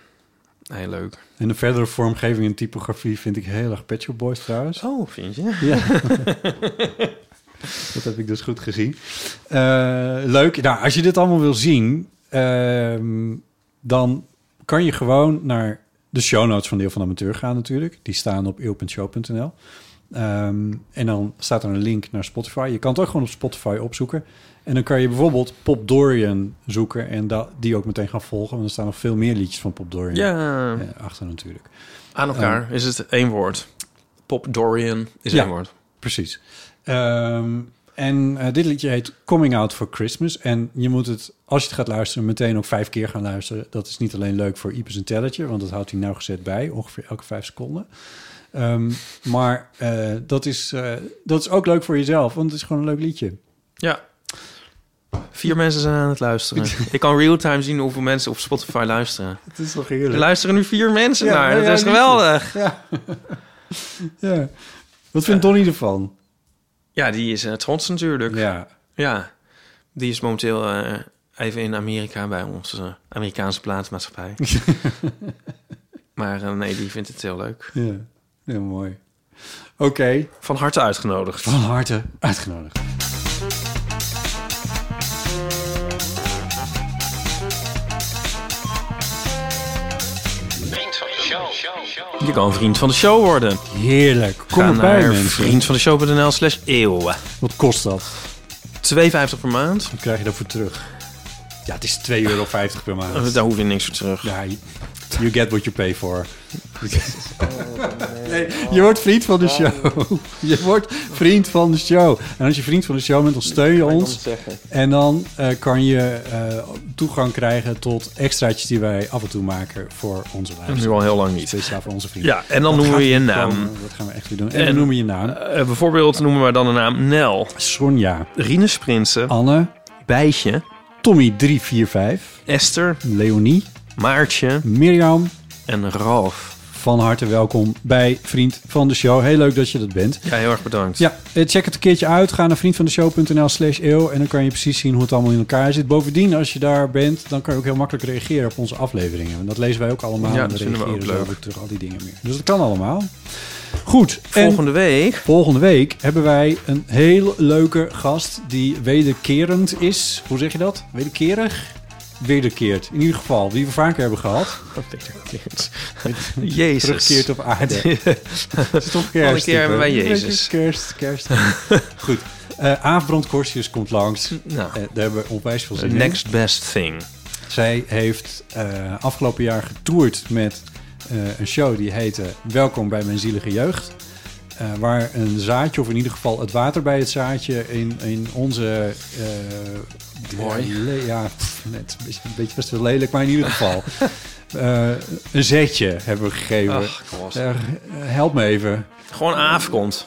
Speaker 3: heel leuk.
Speaker 2: En de verdere vormgeving en typografie vind ik heel erg Pet Shop Boys trouwens.
Speaker 3: Oh, vind je?
Speaker 2: Ja. dat heb ik dus goed gezien. Eh, leuk. Nou, als je dit allemaal wil zien, ehm, dan kan je gewoon naar de show notes van Deel van de Amateur gaan natuurlijk. Die staan op eeuw.show.nl. Ehm, en dan staat er een link naar Spotify. Je kan het ook gewoon op Spotify opzoeken. En dan kan je bijvoorbeeld Pop Dorian zoeken en da- die ook meteen gaan volgen. Want er staan nog veel meer liedjes van Pop Dorian
Speaker 3: Ja.
Speaker 2: eh, achter natuurlijk.
Speaker 3: Aan elkaar is het één woord. Pop Dorian is
Speaker 2: Ja.
Speaker 3: één woord.
Speaker 2: Precies. Ehm, en eh, dit liedje heet Coming Out for Christmas. En je moet het, als je het gaat luisteren, meteen ook vijf keer gaan luisteren. Dat is niet alleen leuk voor Ipes een telletje, want dat houdt hij nauwgezet bij, ongeveer elke vijf seconden. Ehm, maar eh, dat, is, eh, dat is ook leuk voor jezelf, want het is gewoon een leuk liedje.
Speaker 3: Ja. Vier mensen zijn aan het luisteren. Ik kan real-time zien hoeveel mensen op Spotify luisteren.
Speaker 2: Het is toch
Speaker 3: Er
Speaker 2: heerlijk?
Speaker 3: luisteren nu vier mensen
Speaker 2: Ja,
Speaker 3: naar.
Speaker 2: nou
Speaker 3: Dat
Speaker 2: ja,
Speaker 3: is
Speaker 2: liefde.
Speaker 3: geweldig.
Speaker 2: Ja. ja. Wat vindt Donnie ervan?
Speaker 3: Ja, die is eh, trots natuurlijk. Ja.
Speaker 2: Ja.
Speaker 3: Die is momenteel eh, even in Amerika bij onze Amerikaanse platenmaatschappij. maar eh, nee, die vindt het heel leuk.
Speaker 2: Ja. Heel mooi. Oké.
Speaker 3: Van harte uitgenodigd.
Speaker 2: Van harte uitgenodigd.
Speaker 3: Je kan vriend van de show worden.
Speaker 2: Heerlijk. Kom
Speaker 3: Ga
Speaker 2: erbij,
Speaker 3: naar
Speaker 2: mensen.
Speaker 3: vriendvandeshow.nl slash eeuwen.
Speaker 2: Wat kost dat?
Speaker 3: 2,50 per maand.
Speaker 2: Wat krijg je daarvoor terug? Ja, het is 2,50 euro per maand.
Speaker 3: Daar hoef je niks voor terug.
Speaker 2: Ja, you you get what you pay for. Nee, je wordt vriend van de show. Je wordt vriend van de show. En als je vriend van de show bent, dan steun je ons. En dan eh, kan je eh, toegang krijgen tot extraatjes die wij af en toe maken voor onze
Speaker 3: Nu
Speaker 2: luisteraars.
Speaker 3: al heel lang niet.
Speaker 2: Speciaal voor onze vrienden.
Speaker 3: Ja, en dan
Speaker 2: Dat
Speaker 3: noemen
Speaker 2: gaat
Speaker 3: we je
Speaker 2: goed
Speaker 3: naam.
Speaker 2: komen. Dat gaan we echt weer doen. En, dan
Speaker 3: En-
Speaker 2: noemen we je naam.
Speaker 3: Eh, bijvoorbeeld noemen we dan de naam Nel,
Speaker 2: Sonja,
Speaker 3: Rinus Prinsen,
Speaker 2: Anne,
Speaker 3: Bijtje,
Speaker 2: Tommy345,
Speaker 3: Esther,
Speaker 2: Leonie,
Speaker 3: Maartje
Speaker 2: Mirjam,
Speaker 3: en Ralf.
Speaker 2: van harte welkom bij Vriend van de Show. Heel leuk dat je dat bent.
Speaker 3: Ja, heel erg bedankt.
Speaker 2: Ja, eh, check het een keertje uit. Ga naar vriendvandeshow.nl slash eeuw en dan kan je precies zien hoe het allemaal in elkaar zit. Bovendien, als je daar bent, dan kan je ook heel makkelijk reageren op onze afleveringen. En dat lezen wij ook allemaal.
Speaker 3: Ja,
Speaker 2: en
Speaker 3: dat vinden we
Speaker 2: reageren
Speaker 3: ook
Speaker 2: zo terug, al die dingen meer. Dus dat kan allemaal. Goed, en
Speaker 3: Volgende week.
Speaker 2: volgende week hebben wij een heel leuke gast die wederkerend is. Hoe zeg je dat? Wederkerig? Wederkeert. In ieder geval, die we vaker hebben gehad.
Speaker 3: Jezus.
Speaker 2: Terugkeert op aarde. Het is toch kerst.
Speaker 3: Volgende keer
Speaker 2: hè?
Speaker 3: hebben wij Jezus.
Speaker 2: Het is Kerst, kerst. Goed. Eh Aafbrand Korsius komt langs.
Speaker 3: Nou.
Speaker 2: Eh, daar hebben we onwijs veel
Speaker 3: The
Speaker 2: zin in.
Speaker 3: next best thing.
Speaker 2: Zij heeft eh, afgelopen jaar getoerd met eh, een show die heette Welkom bij mijn zielige jeugd. Eh, waar een zaadje, of in ieder geval het water bij het zaadje, in, in onze... eh,
Speaker 3: Mooi.
Speaker 2: le- Ja, pff, net een beetje, een beetje best wel lelijk, maar in ieder geval. eh, een zetje hebben we gegeven.
Speaker 3: Ach, kom op.
Speaker 2: Eh, help me even.
Speaker 3: Gewoon afkomt.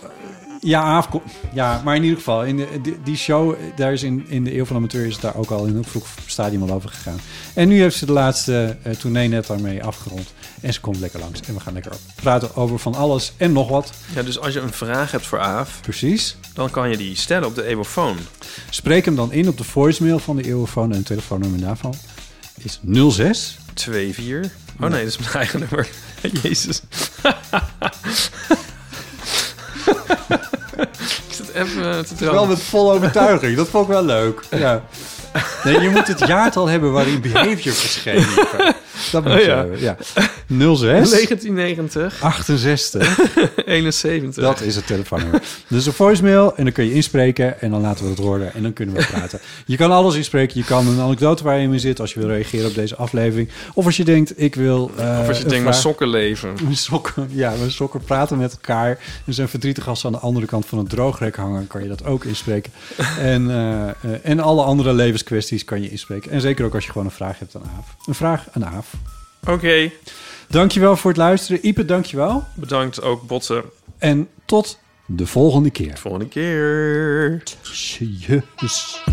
Speaker 2: Ja, Aafco. Ja, maar in ieder geval, in de, die- die show, daar is in, in de Eeuw van de Amateur is het daar ook al in een vroeg stadium al over gegaan. En nu heeft ze de laatste eh tournee net daarmee afgerond. En ze komt lekker langs. En we gaan lekker praten over van alles en nog wat.
Speaker 3: Ja, dus als je een vraag hebt voor Aaf,
Speaker 2: Precies.
Speaker 3: dan kan je die stellen op de Evofoon.
Speaker 2: Spreek hem dan in op de voicemail van de Eeuwfoon en het telefoonnummer daarvan is 06.
Speaker 3: 2, 4. Oh nee, dat is mijn eigen nummer. Jezus. ik zit even eh, te
Speaker 2: Wel
Speaker 3: trouwen.
Speaker 2: met volle overtuiging, dat vond ik wel leuk. Ja. Nee, je moet het jaartal hebben waarin Behavior verschenen is. Dat moet
Speaker 3: Oh
Speaker 2: je
Speaker 3: ja.
Speaker 2: hebben, ja. 06.
Speaker 3: 1990,
Speaker 2: 68.
Speaker 3: 71.
Speaker 2: Dat is het telefoonnummer. dus een voicemail en dan kun je inspreken en dan laten we het horen en dan kunnen we praten. Je kan alles inspreken. Je kan een anekdote waar je mee zit als je wil reageren op deze aflevering. Of als je denkt, ik wil... eh,
Speaker 3: of als je
Speaker 2: een
Speaker 3: denkt, mijn
Speaker 2: vraag-
Speaker 3: sokken leven.
Speaker 2: mijn sokken, ja, mijn sokken praten met elkaar. En zijn verdrietig als ze aan de andere kant van het droogrek hangen, kan je dat ook inspreken. En, eh, eh, en alle andere levenskwesties kan je inspreken. En zeker ook als je gewoon een vraag hebt aan Aaf. Een vraag aan Aaf.
Speaker 3: Oké,
Speaker 2: Dankjewel voor het luisteren. Ipe, dankjewel.
Speaker 3: bedankt ook botten.
Speaker 2: En tot de volgende keer.
Speaker 3: Volgende keer.
Speaker 2: Tjus.